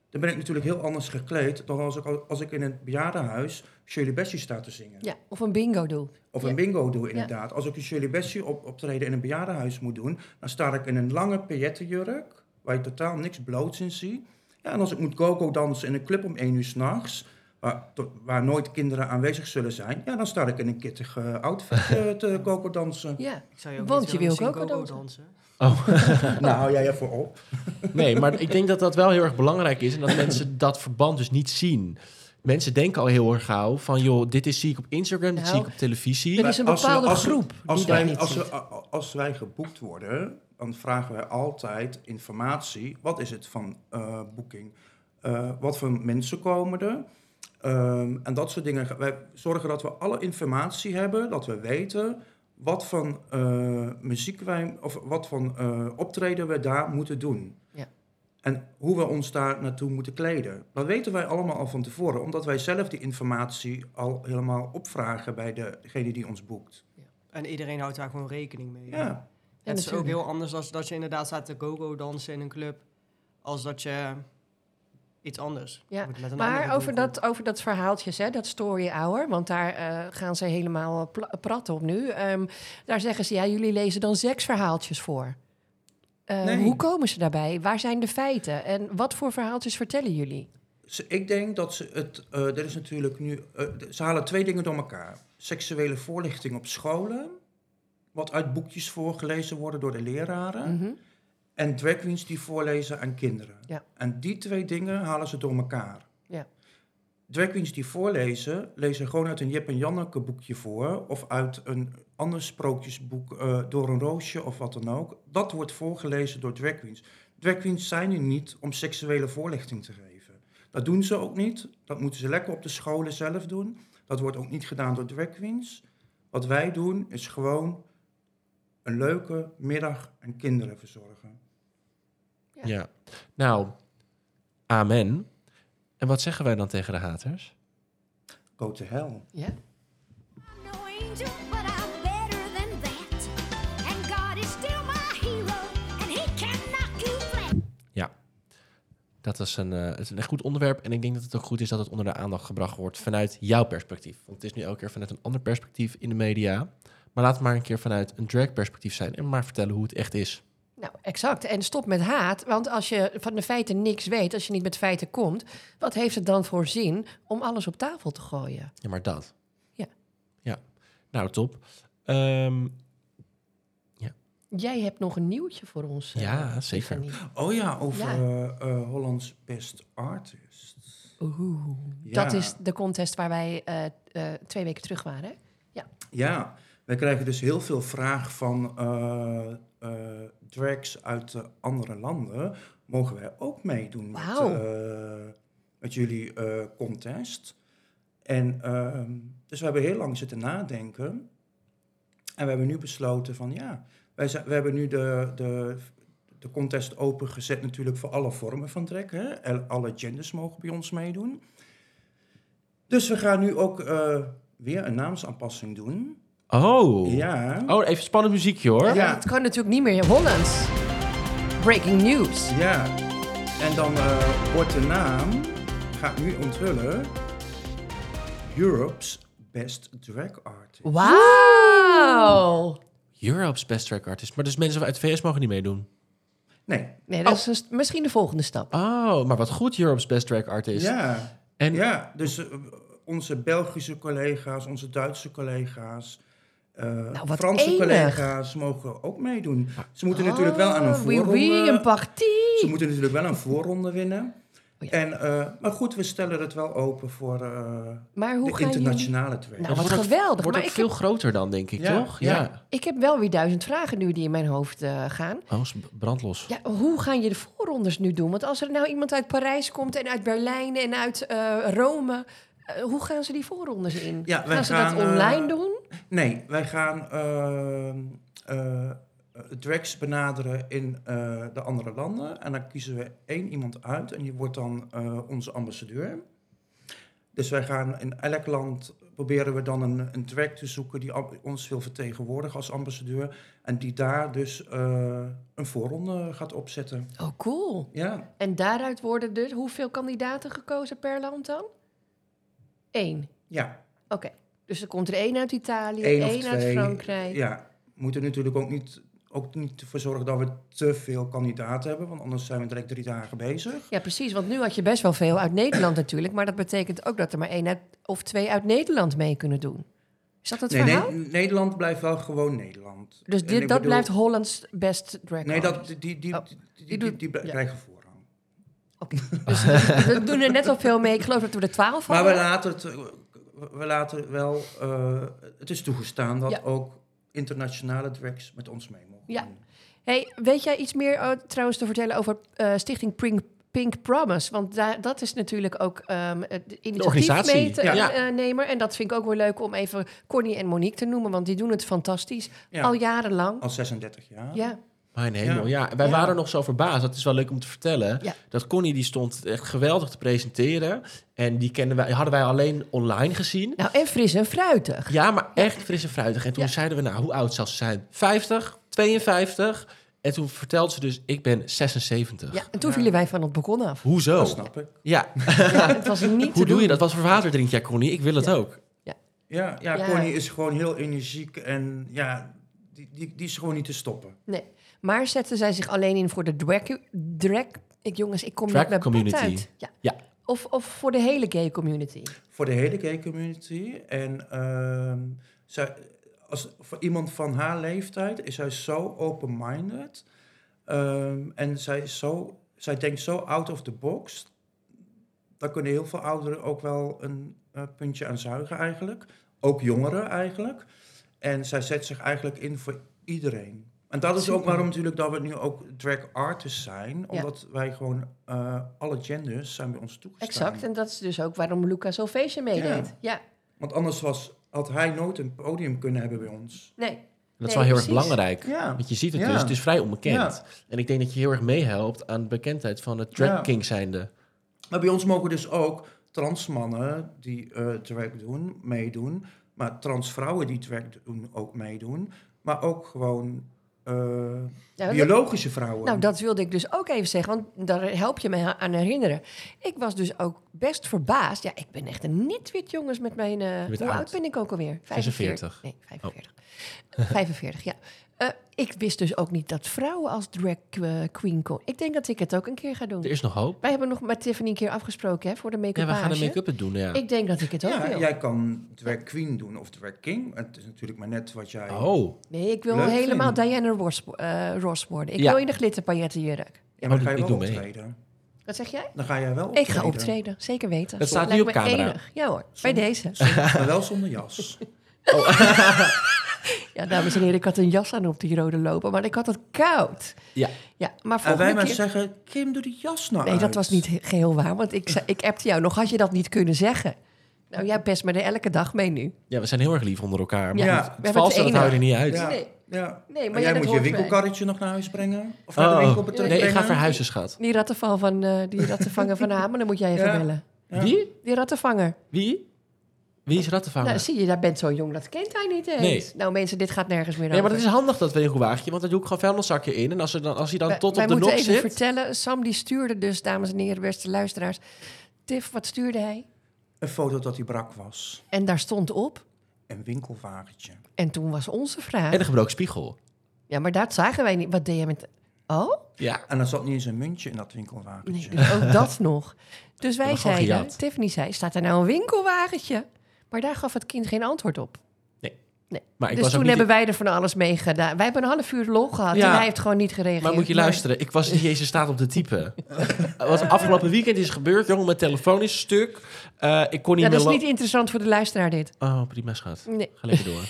S3: dan ben ik natuurlijk heel anders gekleed dan als ik, als ik in een bejaardenhuis Shirley Bessie sta te zingen.
S2: Ja, of een bingo doe.
S3: Of
S2: Ja.
S3: een bingo doe, inderdaad. Als ik een Shirley Bessie op, optreden in een bejaardenhuis moet doen, dan sta ik in een lange paillettenjurk, waar je totaal niks bloots in ziet. Ja, en als ik moet go-go dansen in een club om één uur s'nachts, waar, to- waar nooit kinderen aanwezig zullen zijn, ja, dan sta ik in een kittig eh, outfit eh, te koken dansen.
S2: Ja.
S5: Ik zou je ook
S2: Want
S5: niet
S2: je
S5: willen
S2: wil ook
S5: zien
S2: ook wel
S5: go-go dansen.
S1: Oh,
S3: Nou, hou jij ervoor op.
S1: nee, maar ik denk dat dat wel heel erg belangrijk is en dat mensen dat verband dus niet zien. Mensen denken al heel erg gauw van, joh, dit is, zie ik op Instagram, dit
S2: Nou,
S1: zie ik op televisie.
S2: Er is een
S3: Als we-
S2: bepaalde
S3: als we-
S2: groep
S3: Als
S2: die daar
S3: wij,
S2: niet
S3: als,
S2: zit.
S3: we- a- als wij geboekt worden, dan vragen wij altijd informatie. Wat is het van eh, boeking? Eh, wat voor mensen komen er? Ehm, en dat soort dingen. Wij zorgen dat we alle informatie hebben, dat we weten wat van eh, muziek wij, of wat van eh, optreden we daar moeten doen.
S2: Ja.
S3: En hoe we ons daar naartoe moeten kleden. Dat weten wij allemaal al van tevoren, omdat wij zelf die informatie al helemaal opvragen bij degene die ons boekt.
S5: En iedereen houdt daar gewoon rekening mee.
S3: Ja.
S2: Ja,
S5: het is ook
S2: natuurlijk.
S5: heel anders als dat je inderdaad staat te go-go dansen in een club. Als dat je iets anders
S2: Ja,
S5: moet met een
S2: Maar
S5: andere
S2: over
S5: doelgroep.
S2: dat, over dat verhaaltjes, hè, dat story hour, want daar eh, gaan ze helemaal eh, pla- prat op nu. Ehm, daar zeggen ze, ja, jullie lezen dan seksverhaaltjes voor. Eh,
S3: Nee.
S2: Hoe komen ze daarbij? Waar zijn de feiten? En wat voor verhaaltjes vertellen jullie?
S3: Ze- Ik denk dat ze het. eh er is natuurlijk nu. eh, d- ze halen twee dingen door elkaar: seksuele voorlichting op scholen, wat uit boekjes voorgelezen worden door de leraren,
S2: Mhm.
S3: en drag queens die voorlezen aan kinderen.
S2: Ja.
S3: En die twee dingen halen ze door elkaar.
S2: Ja.
S3: Drag queens die voorlezen, lezen gewoon uit een Jip en Janneke boekje voor, of uit een ander sprookjesboek eh, door een roosje of wat dan ook. Dat wordt voorgelezen door drag queens. Drag queens zijn er niet om seksuele voorlichting te geven. Dat doen ze ook niet. Dat moeten ze lekker op de scholen zelf doen. Dat wordt ook niet gedaan door drag queens. Wat wij doen is gewoon een leuke middag en kinderen verzorgen.
S1: Ja. Nou, amen. En wat zeggen wij dan tegen de haters?
S3: Go to hell.
S2: Ja.
S6: I'm no angel, but I'm better than that. And God is still my hero, and He can knock you flat.
S1: Ja. Dat is een, eh, het is een echt goed onderwerp. En ik denk dat het ook goed is dat het onder de aandacht gebracht wordt vanuit jouw perspectief. Want het is nu elke keer vanuit een ander perspectief in de media. Maar laat het maar een keer vanuit een drag perspectief zijn. En maar vertellen hoe het echt is.
S2: Nou, exact. En stop met haat. Want als je van de feiten niks weet, als je niet met feiten komt, wat heeft het dan voor zin om alles op tafel te gooien?
S1: Ja, maar dat.
S2: Ja.
S1: Ja. Nou, top. Ehm,
S2: Jij hebt nog een nieuwtje voor ons. eh,
S1: ja, zeker.
S2: Tiffany.
S3: Oh ja, over
S2: Ja.
S3: eh, eh, Hollands Best Artist.
S2: Oeh.
S3: Ja.
S2: Dat is de contest waar wij eh, eh, twee weken terug waren.
S3: Ja, wij krijgen dus heel veel vraag van eh, eh, drags uit eh, andere landen. Mogen wij ook meedoen met,
S2: Wauw.
S3: eh, met jullie eh, contest? En ehm, dus we hebben heel lang zitten nadenken. En we hebben nu besloten van ja, wij zijn, we hebben nu de, de, de contest opengezet natuurlijk voor alle vormen van drag. Hè? En Alle genders mogen bij ons meedoen. Dus we gaan nu ook eh, weer een naamsaanpassing doen.
S1: Oh.
S3: Ja.
S1: Oh, even spannend muziekje hoor.
S3: Ja.
S2: Ja. Het kan natuurlijk niet meer in Hollands. Breaking news.
S3: Ja. En dan eh, wordt de naam, ga ik nu onthullen, Europe's Best Drag Artist.
S2: Wauw!
S1: Europe's Best Track Artist. Maar dus mensen uit de VS mogen niet meedoen.
S3: Nee.
S2: Nee, dat is dus misschien de volgende stap.
S1: Oh, maar wat goed Europe's Best Track Artist.
S3: Ja.
S1: En
S3: Ja, dus eh, onze Belgische collega's, onze Duitse collega's, eh,
S2: Nou, wat
S3: Franse
S2: enig.
S3: collega's mogen ook meedoen. Ze moeten natuurlijk wel aan een eh,
S2: Ah, oui,
S3: voorronde.
S2: oui, een
S3: Ze
S2: partie.
S3: moeten natuurlijk wel een voorronde winnen.
S2: Oh ja.
S3: en, eh, maar goed, we stellen het wel open voor eh,
S2: Maar
S3: de
S2: hoe gaan jullie...
S3: internationale drag.
S2: Nou, wat
S1: wordt ook-
S2: geweldig.
S1: wordt
S2: Maar
S1: ook
S2: ik,
S1: veel
S2: heb,
S1: groter dan, denk ik,
S3: Ja,
S1: toch?
S3: ja.
S2: ik heb wel weer duizend vragen nu die in mijn hoofd eh, gaan.
S1: Oh, is brandlos.
S2: Ja, hoe gaan je de voorrondes nu doen? Want als er nou iemand uit Parijs komt en uit Berlijn en uit eh, Rome... eh, hoe gaan ze die voorrondes in?
S3: Ja, wij
S2: gaan ze
S3: gaan,
S2: dat
S3: eh,
S2: online doen?
S3: Nee, wij gaan ehm eh, drags benaderen in eh, de andere landen. En dan kiezen we één iemand uit en die wordt dan eh, onze ambassadeur. Dus wij gaan in elk land proberen we dan een, een drag te zoeken die am- ons wil vertegenwoordigen als ambassadeur. En die daar dus eh, een voorronde gaat opzetten.
S2: Oh, cool.
S3: Ja,
S2: En daaruit worden dus hoeveel kandidaten gekozen per land dan? Eén.
S3: ja.
S2: Oké. Dus er komt er één uit Italië,
S3: Eén
S2: één,
S3: of twee.
S2: uit Frankrijk.
S3: Ja, moeten natuurlijk ook niet ook niet voor zorgen dat we te veel kandidaten hebben, want anders zijn we direct drie dagen bezig.
S2: Ja, precies. Want nu had je best wel veel uit Nederland natuurlijk. Maar dat betekent ook dat er maar één uit, of twee uit Nederland mee kunnen doen. Is dat het
S3: Nee,
S2: verhaal?
S3: nee, Nederland blijft wel gewoon Nederland.
S2: Dus
S3: En
S2: dit, dat
S3: ik bedoel-
S2: blijft Hollands best drag
S3: Nee,
S2: queen.
S3: dat, die, die, die,
S2: Oh,
S3: die,
S2: die
S3: die,
S2: doet-
S3: die bl-
S2: ja.
S3: krijgen voorrang.
S2: Oké. Dus we doen er net al veel mee. Ik geloof dat we er twaalf
S3: Maar
S2: hadden.
S3: we laten het, eh, we laten wel, eh, het is toegestaan dat
S2: Ja.
S3: ook internationale drags met ons mee mogen.
S2: Ja.
S3: doen.
S2: Hey, weet jij iets meer eh, trouwens te vertellen over eh, Stichting Pink, Pink Promise? Want daar- dat is natuurlijk ook ehm het initiatiefnemer. eh,
S1: organisatie, ja.
S2: En dat vind ik ook wel leuk om even Connie en Monique te noemen, want die doen het fantastisch.
S3: Ja.
S2: Al jarenlang.
S3: Al 36 jaar.
S2: Ja.
S1: Mijn hemel, ja. Wij
S2: Ja.
S1: waren nog zo verbaasd. Dat is wel leuk om te vertellen.
S2: Ja.
S1: Dat Connie die stond echt geweldig te presenteren. En die kenden wij, hadden wij alleen online gezien.
S2: Nou, en fris en fruitig.
S1: Ja, maar echt fris en fruitig. En toen
S2: Ja.
S1: zeiden we, nou, hoe oud zal ze zijn? 50, 52. En toen vertelde ze dus, ik ben 76.
S2: Ja, en toen vielen wij van het balkon af.
S1: Hoezo?
S3: Dat snap ik.
S1: Ja,
S2: Het was niet te
S1: hoe doe
S2: doen.
S1: je dat? Wat voor water drink jij, Connie? Ik wil het ook.
S3: Ja, ja,
S2: Ja.
S3: Connie is gewoon heel energiek en ja, die, die, die is gewoon niet te stoppen.
S2: Nee. Maar zetten zij zich alleen in voor de drag... drag ik, jongens, ik kom
S1: Drag
S2: net met
S1: community.
S2: pet uit. Ja.
S1: Ja.
S2: Of, of voor de hele gay community.
S3: Voor de hele gay community. En ehm, zij, als, voor iemand van haar leeftijd is zij zo open-minded. Ehm, en zij, is zo, zij denkt zo out of the box. Daar kunnen heel veel ouderen ook wel een eh, puntje aan zuigen eigenlijk. Ook jongeren eigenlijk. En zij zet zich eigenlijk in voor iedereen. En dat is ook
S2: Super.
S3: waarom natuurlijk dat we nu ook drag artists zijn. Omdat wij gewoon eh, alle genders zijn bij ons toegestaan.
S2: Exact. En dat is dus ook waarom Luca Salvation meedeed. Ja.
S3: Want anders was, had hij nooit een podium kunnen hebben bij ons.
S2: Nee.
S1: En dat is
S2: Nee,
S1: wel heel
S2: precies.
S1: erg belangrijk.
S3: Ja.
S1: Want je ziet het
S3: Ja.
S1: dus, het is vrij onbekend.
S3: Ja.
S1: En ik denk dat je heel erg meehelpt aan de bekendheid van het drag
S3: Ja.
S1: king zijnde.
S3: Maar bij ons mogen dus ook transmannen die eh drag doen, meedoen. Maar transvrouwen die drag doen, ook meedoen. Maar ook gewoon eh,
S2: dat-
S3: biologische vrouwen.
S2: Nou, dat wilde ik dus ook even zeggen, want daar help je me aan herinneren. Ik was dus ook best verbaasd. Ja, ik ben echt een nitwit jongens met mijn... eh,
S1: bent
S2: hoe
S1: oud. Oh.
S2: oud ben ik ook alweer?
S1: 46.
S2: Nee, 45. 45, ja. Eh, ik wist dus ook niet dat vrouwen als drag eh, queen komen. Ik denk dat ik het ook een keer ga doen.
S1: Er is nog hoop.
S2: Wij hebben nog met Tiffany een keer afgesproken hè, voor de
S1: Ja,
S2: make-up.
S1: we gaan een make-up het doen, ja.
S2: Ik denk dat ik het ook
S3: ja,
S2: wil.
S3: jij kan drag queen doen of drag king. Het is natuurlijk maar net wat jij...
S1: Oh,
S2: Nee, ik wil
S3: Leuk
S2: helemaal
S3: vinden.
S2: Diana Ross, eh, Ross worden. Ik
S1: Ja.
S2: wil in de glitterpailletten jurk.
S3: Ja,
S1: Oh,
S3: maar dan ga je
S1: ik
S3: wel
S1: doe mee.
S3: optreden.
S2: Wat zeg jij?
S3: Dan ga jij wel
S2: Ik ga optreden, zeker weten.
S1: Dat staat
S2: Lijkt
S1: nu op
S2: me
S1: camera.
S2: enig. Ja hoor, bij deze.
S3: Maar wel zonder jas.
S2: Ja, dames en heren, ik had een jas aan op die rode lopen, maar ik had het koud.
S1: ja.
S2: Ja, maar
S3: en wij
S2: volgende
S3: maar
S2: keer...
S3: zeggen, Kim, doe die jas nou
S2: Nee, dat
S3: uit.
S2: was niet he- geheel waar, want ik, zei- ik appte jou nog. Had je dat niet kunnen zeggen? Nou, jij pest me er elke dag mee nu.
S1: Ja, we zijn heel erg lief onder elkaar. Maar
S2: Ja,
S1: goed,
S3: we
S1: het
S2: hebben
S1: valse,
S2: het
S1: dat hou je er
S2: enig.
S1: niet uit. Oh.
S3: Ja,
S2: Nee.
S3: ja.
S2: Nee,
S3: En
S2: maar ja,
S3: jij
S2: dat
S3: moet je
S2: hoort bij.
S3: winkelkarretje nog naar huis brengen? Of naar de
S1: Oh.
S3: winkel terug
S1: Nee, ik ga
S3: brengen?
S1: verhuizen, schat.
S2: Die rattenval van, eh die rattenvanger van Hamen, dan moet jij even
S3: Ja.
S2: bellen.
S3: Ja.
S1: Wie?
S2: Die rattenvanger.
S1: Wie? Wie is rattenvanger?
S2: Nou, zie je, daar bent zo jong, dat kent hij niet eens.
S1: Ah. Nee.
S2: Nou mensen, dit gaat nergens
S1: Nee,
S2: meer
S1: maar
S2: over.
S1: dat is handig, dat winkelwagentje. Want daar doe ik gewoon vuilniszakje in. En als, er dan, als hij dan
S2: Wij-
S1: tot
S2: wij
S1: op de
S2: moeten
S1: nok
S2: even
S1: zit...
S2: vertellen, Sam die stuurde dus, dames en heren, beste luisteraars. Tiff, wat stuurde hij?
S3: Een foto dat hij brak was.
S2: En daar stond op.
S3: Een winkelwagentje.
S2: En toen was onze vraag.
S1: En een gebroken spiegel.
S2: Ja, maar dat zagen wij niet. Wat deed jij met... Oh?
S1: Ja.
S3: En dan zat niet eens een muntje in dat
S2: Nee,
S3: winkelwagentje.
S2: dus ook dat nog. Dus wij
S1: hebben gewoon
S2: zeiden,
S1: gejat.
S2: Tiffany zei, staat er nou een winkelwagentje? Maar daar gaf het kind geen antwoord op.
S1: Maar ik
S2: dus
S1: was
S2: toen
S1: ook niet...
S2: hebben wij er van alles mee gedaan. Wij hebben een half uur lol gehad
S1: Ja.
S2: en hij heeft gewoon niet gereageerd.
S1: Maar moet je luisteren, ik was niet eens in staat om te typen. Wat afgelopen weekend is gebeurd, jongen, mijn telefoon is stuk. Eh, ik kon niet
S2: Ja,
S1: meer...
S2: dat is
S1: lo-
S2: niet interessant voor de luisteraar dit.
S1: Oh, prima, schat.
S2: Nee.
S1: Ga lekker door.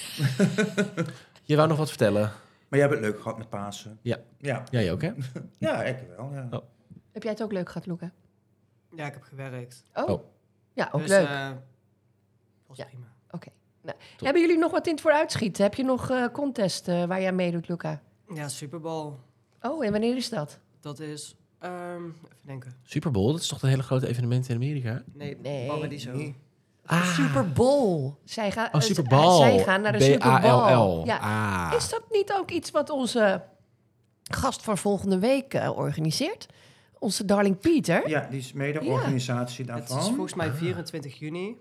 S1: je wou nog wat vertellen?
S3: Maar jij hebt het leuk gehad met Pasen.
S1: Ja.
S3: Ja,
S1: Jij ook, hè?
S3: ja ik wel. Ja.
S1: Oh.
S2: Heb jij het ook leuk gehad, Luca?
S5: Ja, ik heb gewerkt.
S2: Oh.
S1: Oh.
S2: Ja, ook
S5: dus,
S2: leuk.
S5: eh, was
S2: Ja.
S5: prima.
S2: Oké. Nou, hebben jullie nog wat in het vooruitschieten? Heb je nog eh contest eh, waar jij meedoet, Luca?
S5: Ja, Super Bowl.
S2: Oh, en wanneer is dat?
S5: Dat is. ehm, even denken.
S1: Super Bowl, dat is toch een hele grote evenement in Amerika?
S5: Nee,
S2: Nee.
S5: Paradiso.
S3: Nee.
S2: De Super Bowl. Zij gaan,
S1: Ah. Oh,
S2: eh,
S1: Super
S2: z-
S1: Bowl.
S2: Zij gaan naar de Super Bowl.
S1: B-A-L-L.
S2: Ja.
S1: Ah.
S2: Is dat niet ook iets wat onze gast van volgende week eh, organiseert? Onze darling Pieter.
S3: ja, die is mede-organisatie
S5: Het
S3: daarvan.
S5: is volgens mij 24 juni.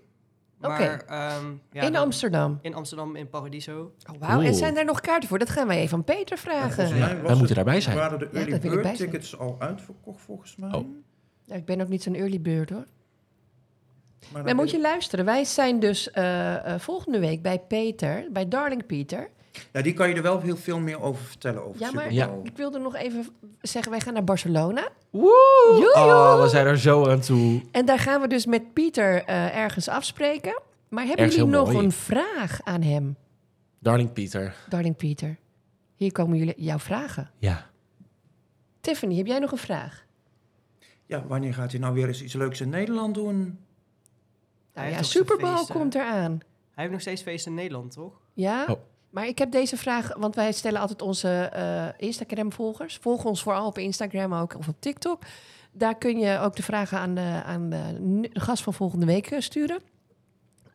S5: Maar,
S2: Oké.
S5: ehm, ja,
S2: in
S5: dan-
S2: Amsterdam.
S5: in Amsterdam, in Paradiso.
S2: Oh, wauw. En
S1: Cool.
S2: zijn daar nog kaarten voor? Dat gaan wij even aan Peter vragen.
S3: Volgens mij was
S1: wij moeten daarbij zijn.
S3: Waren de early
S2: daar wil ik bij
S3: bird
S2: zijn.
S3: tickets al uitverkocht volgens mij?
S1: Oh.
S2: Ja, ik ben ook niet zo'n early bird hoor.
S3: Maar
S2: Maar
S3: dan
S2: moet je luisteren. Wij zijn dus eh, eh, volgende week bij Peter, bij Darling Peter.
S3: Ja, die kan je er wel heel veel meer over vertellen. Over
S2: Ja, maar
S3: Super Bowl.
S2: ik wilde nog even zeggen, wij gaan naar Barcelona.
S1: Woe!
S2: Joejoe!
S1: Oh, we zijn er zo aan toe.
S2: En daar gaan we dus met Pieter eh, ergens afspreken. Maar hebben
S1: Ergens
S2: jullie
S1: heel
S2: nog
S1: mooi.
S2: een vraag aan hem,
S1: Darling Pieter.
S2: darling Pieter? Hier komen jullie jouw vragen.
S1: Ja.
S2: Tiffany, heb jij nog een vraag?
S3: Ja, wanneer gaat hij nou weer eens iets leuks in Nederland doen?
S5: Hij
S2: Nou ja,
S5: heeft ook zijn
S2: Super Bowl
S5: feesten.
S2: komt eraan.
S5: Hij heeft nog steeds feest in Nederland, toch?
S2: Ja?
S1: Oh.
S2: Maar ik heb deze vraag, want wij stellen altijd onze eh, Instagram-volgers. Volg ons vooral op Instagram ook of op TikTok. Daar kun je ook de vragen aan de, aan de nu- de gast van volgende week eh, sturen.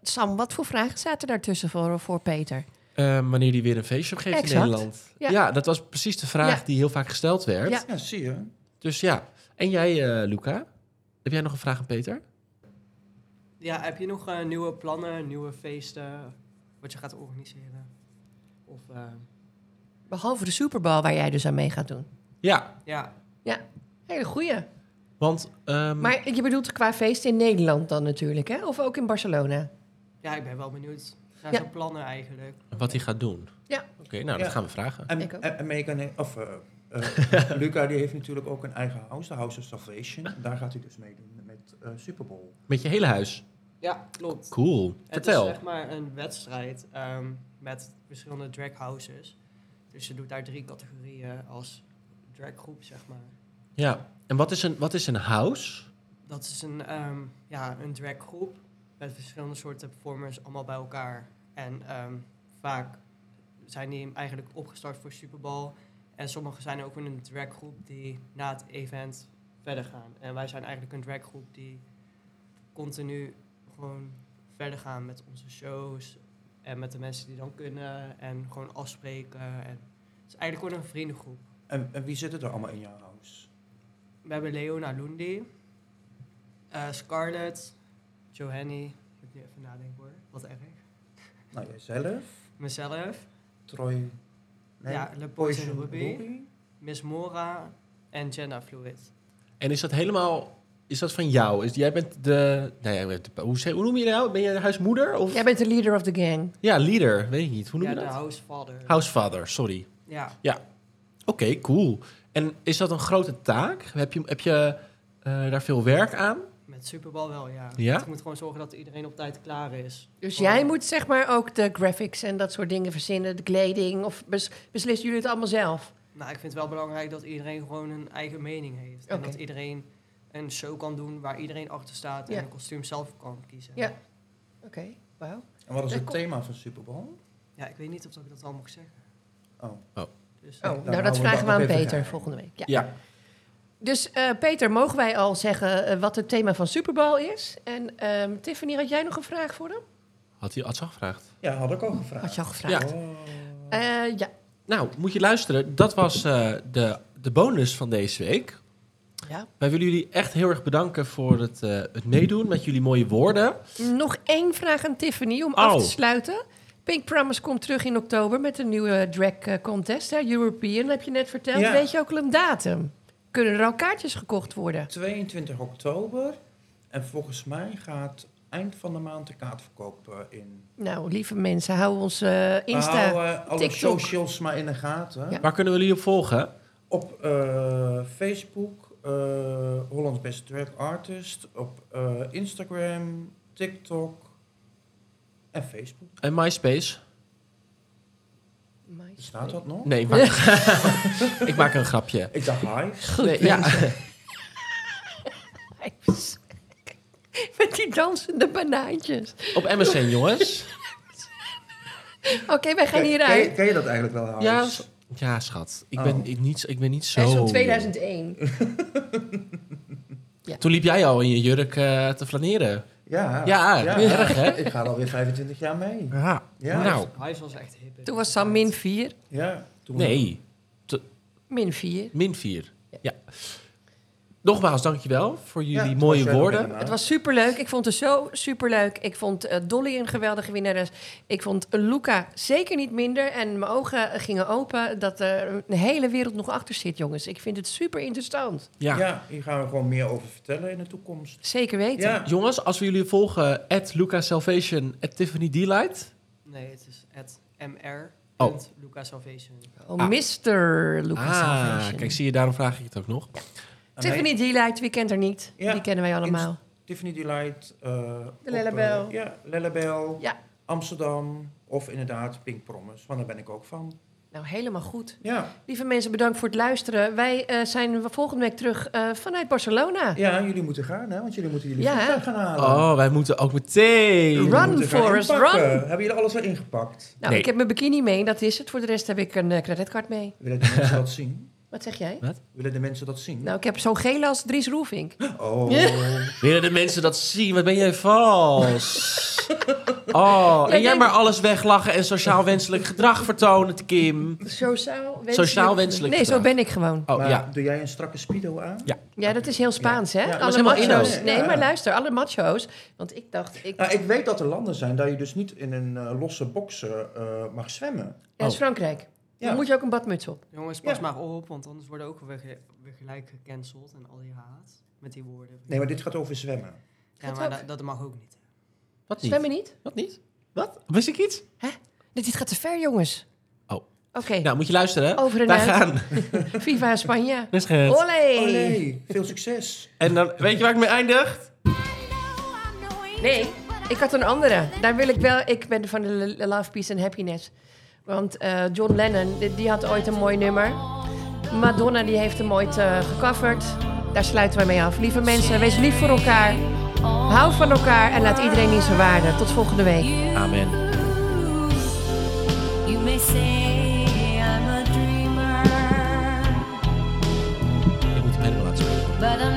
S2: Sam, wat voor vragen zaten daartussen voor, voor Peter?
S1: Eh, wanneer die weer een feestje geeft in
S2: Exact.
S1: Nederland.
S2: Ja.
S1: Ja. dat was precies de vraag
S2: Ja.
S1: die heel vaak gesteld werd.
S2: Ja.
S3: Ja, zie je.
S1: Dus ja. En jij, eh, Luca? Heb jij nog een vraag aan Peter?
S5: Ja, heb je nog eh, nieuwe plannen, nieuwe feesten, wat je gaat organiseren? Of, eh,
S2: Behalve de Super Bowl, waar jij dus aan mee gaat doen.
S1: Ja,
S5: ja,
S2: Hele goeie.
S1: want... ehm,
S2: Maar je bedoelt qua feest in Nederland dan natuurlijk, hè? Of ook in Barcelona?
S5: ja, ik ben wel benieuwd naar
S2: Ja.
S5: zijn plannen eigenlijk.
S1: Wat hij gaat doen?
S2: Ja.
S1: Oké, nou,
S3: Ja.
S1: dat gaan we vragen.
S3: En,
S2: Ik ook.
S3: en- en Megan he- of, eh, eh, Luca die heeft natuurlijk ook een eigen house, de House of Salvation. En Daar gaat hij dus meedoen met eh Super Bowl.
S1: Met je hele huis.
S5: Ja, klopt.
S1: Cool. Vertel.
S5: Het is zeg maar een wedstrijd ehm, met verschillende drag houses. Dus je doet daar drie categorieën als draggroep, zeg maar.
S1: Ja. En wat is een, wat is een house?
S5: Dat is een, ehm ja, een draggroep met verschillende soorten performers allemaal bij elkaar. En ehm, vaak zijn die eigenlijk opgestart voor Super Bowl. En sommigen zijn ook in een draggroep die na het event verder gaan. En wij zijn eigenlijk een draggroep die continu gewoon verder gaan met onze shows. En met de mensen die dan kunnen. En gewoon afspreken. En het is eigenlijk gewoon een vriendengroep.
S3: En, en wie zitten er allemaal in jouw house?
S5: We hebben Leona Lundi, eh, Scarlett, Johanny. Ik moet nu even nadenken hoor, wat erg.
S3: Nou, jijzelf,
S5: Mezelf,
S3: Troy... nee,
S5: ja, Le Poison
S3: Poison
S5: Ruby,
S3: Ruby.
S5: Miss Mora en Jenna Fluid.
S1: En is dat helemaal... Is dat van jou? Is, jij bent de... Nou, jij bent de- hoe, zeg- hoe noem je jou? Ben je de huismoeder? Of?
S2: Jij bent de leader of the gang.
S1: Ja, leader. Weet ik niet. Hoe noem
S5: Ja,
S1: je
S5: de
S1: dat?
S5: Housefather.
S1: Housefather, sorry.
S5: ja,
S1: Oké, cool. En is dat een grote taak? Heb je, heb je eh, daar veel werk aan?
S5: met Superbal wel, ja.
S1: Ja?
S5: Want Je moet gewoon zorgen dat iedereen op tijd klaar is.
S2: Dus
S5: Gewoon-
S2: jij moet zeg maar ook de graphics en dat soort dingen verzinnen, de kleding. Of bes- beslissen jullie het allemaal zelf?
S5: Nou, ik vind het wel belangrijk dat iedereen gewoon een eigen mening heeft. En
S2: Oké.
S5: dat iedereen een show kan doen waar iedereen achter staat
S2: Ja.
S5: en een kostuum zelf kan kiezen.
S2: Ja. Oké, wauw.
S3: En wat is
S2: Daar
S3: het
S2: komt-
S3: thema van Super Bowl?
S5: Ja, ik weet niet of ik dat al mag zeggen.
S3: Oh.
S5: Dus,
S2: Oh,
S5: eh,
S2: nou,
S3: dan houden
S2: dat
S3: we
S2: vragen we
S3: dat
S2: aan
S3: nog even
S2: Peter
S3: geheim.
S2: volgende week. Ja.
S1: Ja.
S2: Dus eh, Peter, mogen wij al zeggen eh, wat het thema van Super Bowl is? En ehm, Tiffany, had jij nog een vraag voor hem?
S1: Had hij had ze al gevraagd?
S3: Ja, had ik al gevraagd.
S2: Had je al gevraagd?
S3: Oh.
S2: Ja. Eh, ja.
S1: Nou, moet je luisteren. Dat was eh, de, de bonus van deze week.
S2: ja.
S1: Wij willen jullie echt heel erg bedanken voor het, eh, het meedoen met jullie mooie woorden.
S2: Nog één vraag aan Tiffany om af
S1: Oh.
S2: te sluiten. Pink Promise komt terug in oktober met een nieuwe drag eh, contest. Hè? European, heb je net verteld.
S3: Ja.
S2: Weet je ook al een datum? Kunnen er al kaartjes gekocht worden?
S3: 22 oktober. En volgens mij gaat eind van de maand de kaartverkoop eh, in.
S2: Nou, lieve mensen, hou ons eh,
S3: We
S2: Insta.
S3: houden alle
S2: TikTok.
S3: socials maar in de gaten.
S2: Ja.
S1: Waar kunnen we jullie op volgen?
S3: Op eh, Facebook, eh, Hollands Best Drag Artist. Op eh, Instagram, TikTok en Facebook.
S1: En MySpace?
S2: My-
S3: Staat dat nog?
S1: Nee, ik maak, ik maak een grapje.
S3: Ik dacht hi.
S2: Goed,
S1: Nee, ja.
S2: mensen. Met die dansende banaantjes.
S1: Op MSN, jongens.
S2: Oké, wij gaan
S3: ken, je-
S2: hieruit.
S3: ken je dat eigenlijk wel, Harris?
S1: Ja, s- ja schat. Ik, ben,
S3: Oh.
S1: ik, niet, ik ben niet zo...
S2: Hij is van
S1: jong.
S2: 2001.
S1: Toen liep jij al in je jurk eh, te flaneren.
S3: Ja,
S1: Ja, erg, hè?
S3: Ik ga alweer 25 jaar mee.
S1: Ja.
S3: Ja.
S1: Nou,
S5: eh, Hives was echt hip. in
S2: Toen
S5: die
S2: was Sam
S5: tijd.
S2: min 4.
S3: Ja, toen
S1: nee.
S2: Min 4.
S1: Min 4. Ja. Nogmaals, dankjewel voor
S3: Ja,
S1: jullie
S3: het was
S1: mooie
S3: jij ook
S1: woorden.
S3: helemaal.
S2: Het was superleuk. Ik vond het zo superleuk. Ik vond eh, Dolly een geweldige winnares. Ik vond Luca zeker niet minder. En mijn ogen eh, gingen open dat er een hele wereld nog achter zit, jongens. Ik vind het super interessant.
S1: Ja.
S3: Ja, hier gaan we gewoon meer over vertellen in de toekomst.
S2: Zeker weten.
S3: Ja.
S1: Jongens, als we jullie volgen, at Salvation, Tiffany Delight.
S5: Nee, het is at mr.
S1: Oh.
S5: Luca Salvation.
S2: Oh,
S1: Ah.
S2: Mr. Luca Salvation.
S1: kijk, zie je, daarom vraag ik het ook nog.
S3: Aan mij-
S2: Tiffany Delight, wie kent haar niet?
S3: Ja.
S2: Die kennen wij allemaal.
S3: Tiffany Delight. eh, op,
S2: Lellebel.
S3: eh, ja, Lellebel.
S2: Ja.
S3: Amsterdam. Of inderdaad Pink Promise. Want daar ben ik ook van.
S2: Nou, helemaal goed.
S3: Ja,
S2: Lieve mensen, bedankt voor het luisteren. Wij eh, zijn volgende week terug eh, vanuit Barcelona.
S3: ja jullie moeten gaan, hè? Want jullie moeten jullie
S2: Ja, hè?
S3: vliegtuig gaan halen.
S1: Oh, wij moeten ook meteen.
S2: Run,
S3: Moeten gaan
S2: Forrest,
S3: inpakken.
S2: run.
S3: Hebben jullie alles weer ingepakt?
S2: Nou,
S1: Nee.
S2: ik heb mijn bikini mee, dat is het. Voor de rest heb ik een eh, creditcard mee.
S3: Willen de mensen dat zien?
S2: Wat zeg jij?
S3: Willen de mensen dat zien?
S2: Nou, ik heb zo'n gele als Dries Roefink.
S3: Oh,
S1: Willen de mensen dat zien? Wat ben jij vals? Oh, en jij
S2: denk-
S1: maar alles weglachen en sociaal wenselijk gedrag vertonen, Kim.
S2: Sociaal wenselijk.
S1: Sociaal wenselijk
S2: Nee, zo
S1: gedrag.
S2: ben ik gewoon.
S1: Oh
S3: maar
S1: ja.
S3: doe jij een strakke speedo aan?
S2: Ja, dat is heel Spaans, hè?
S3: Ja, maar
S2: alle
S1: zijn wel
S2: macho's.
S3: Indo's.
S2: Nee,
S3: Ja.
S2: maar luister, alle macho's. Want ik dacht, ik...
S3: Nou, ik weet dat er landen zijn dat je dus niet in een eh, losse box eh, mag zwemmen.
S2: Dat is
S1: Oh.
S2: Frankrijk.
S3: Ja.
S2: Dan moet je ook een badmuts op.
S5: Jongens, pas
S3: Ja.
S5: maar op, want anders worden ook weer, ge- weer gelijk gecanceld en al die haat met die woorden.
S3: Nee, maar dit gaat over zwemmen.
S5: ja,
S2: Gaat
S5: maar
S2: ook.
S5: da- dat mag ook niet.
S1: Wat
S2: Zwemmen niet?
S1: Wat niet? Wat? Wist ik iets?
S2: Dit, dit gaat te ver, jongens.
S1: Oh.
S2: Oké,
S1: Nou, moet je luisteren.
S2: Over en
S1: Wij
S2: uit.
S1: gaan.
S2: Viva Spanje.
S1: Dat is het.
S2: Olé!
S3: Olé, veel succes.
S1: En dan, weet je waar ik mee eindig?
S2: Nee, ik had een andere. Daar wil ik wel. Ik ben van de L- L- Love, Peace and Happiness. Want eh, John Lennon, die, die had ooit een mooi nummer. Madonna, die heeft hem ooit eh, gecoverd. Daar sluiten we mee af. Lieve mensen, wees lief voor elkaar. Hou van elkaar en laat iedereen in zijn waarde. Tot volgende week.
S1: Amen.
S6: You may say I'm a dreamer,
S1: Ik moet die bijna wel laten spreken.
S6: but I'm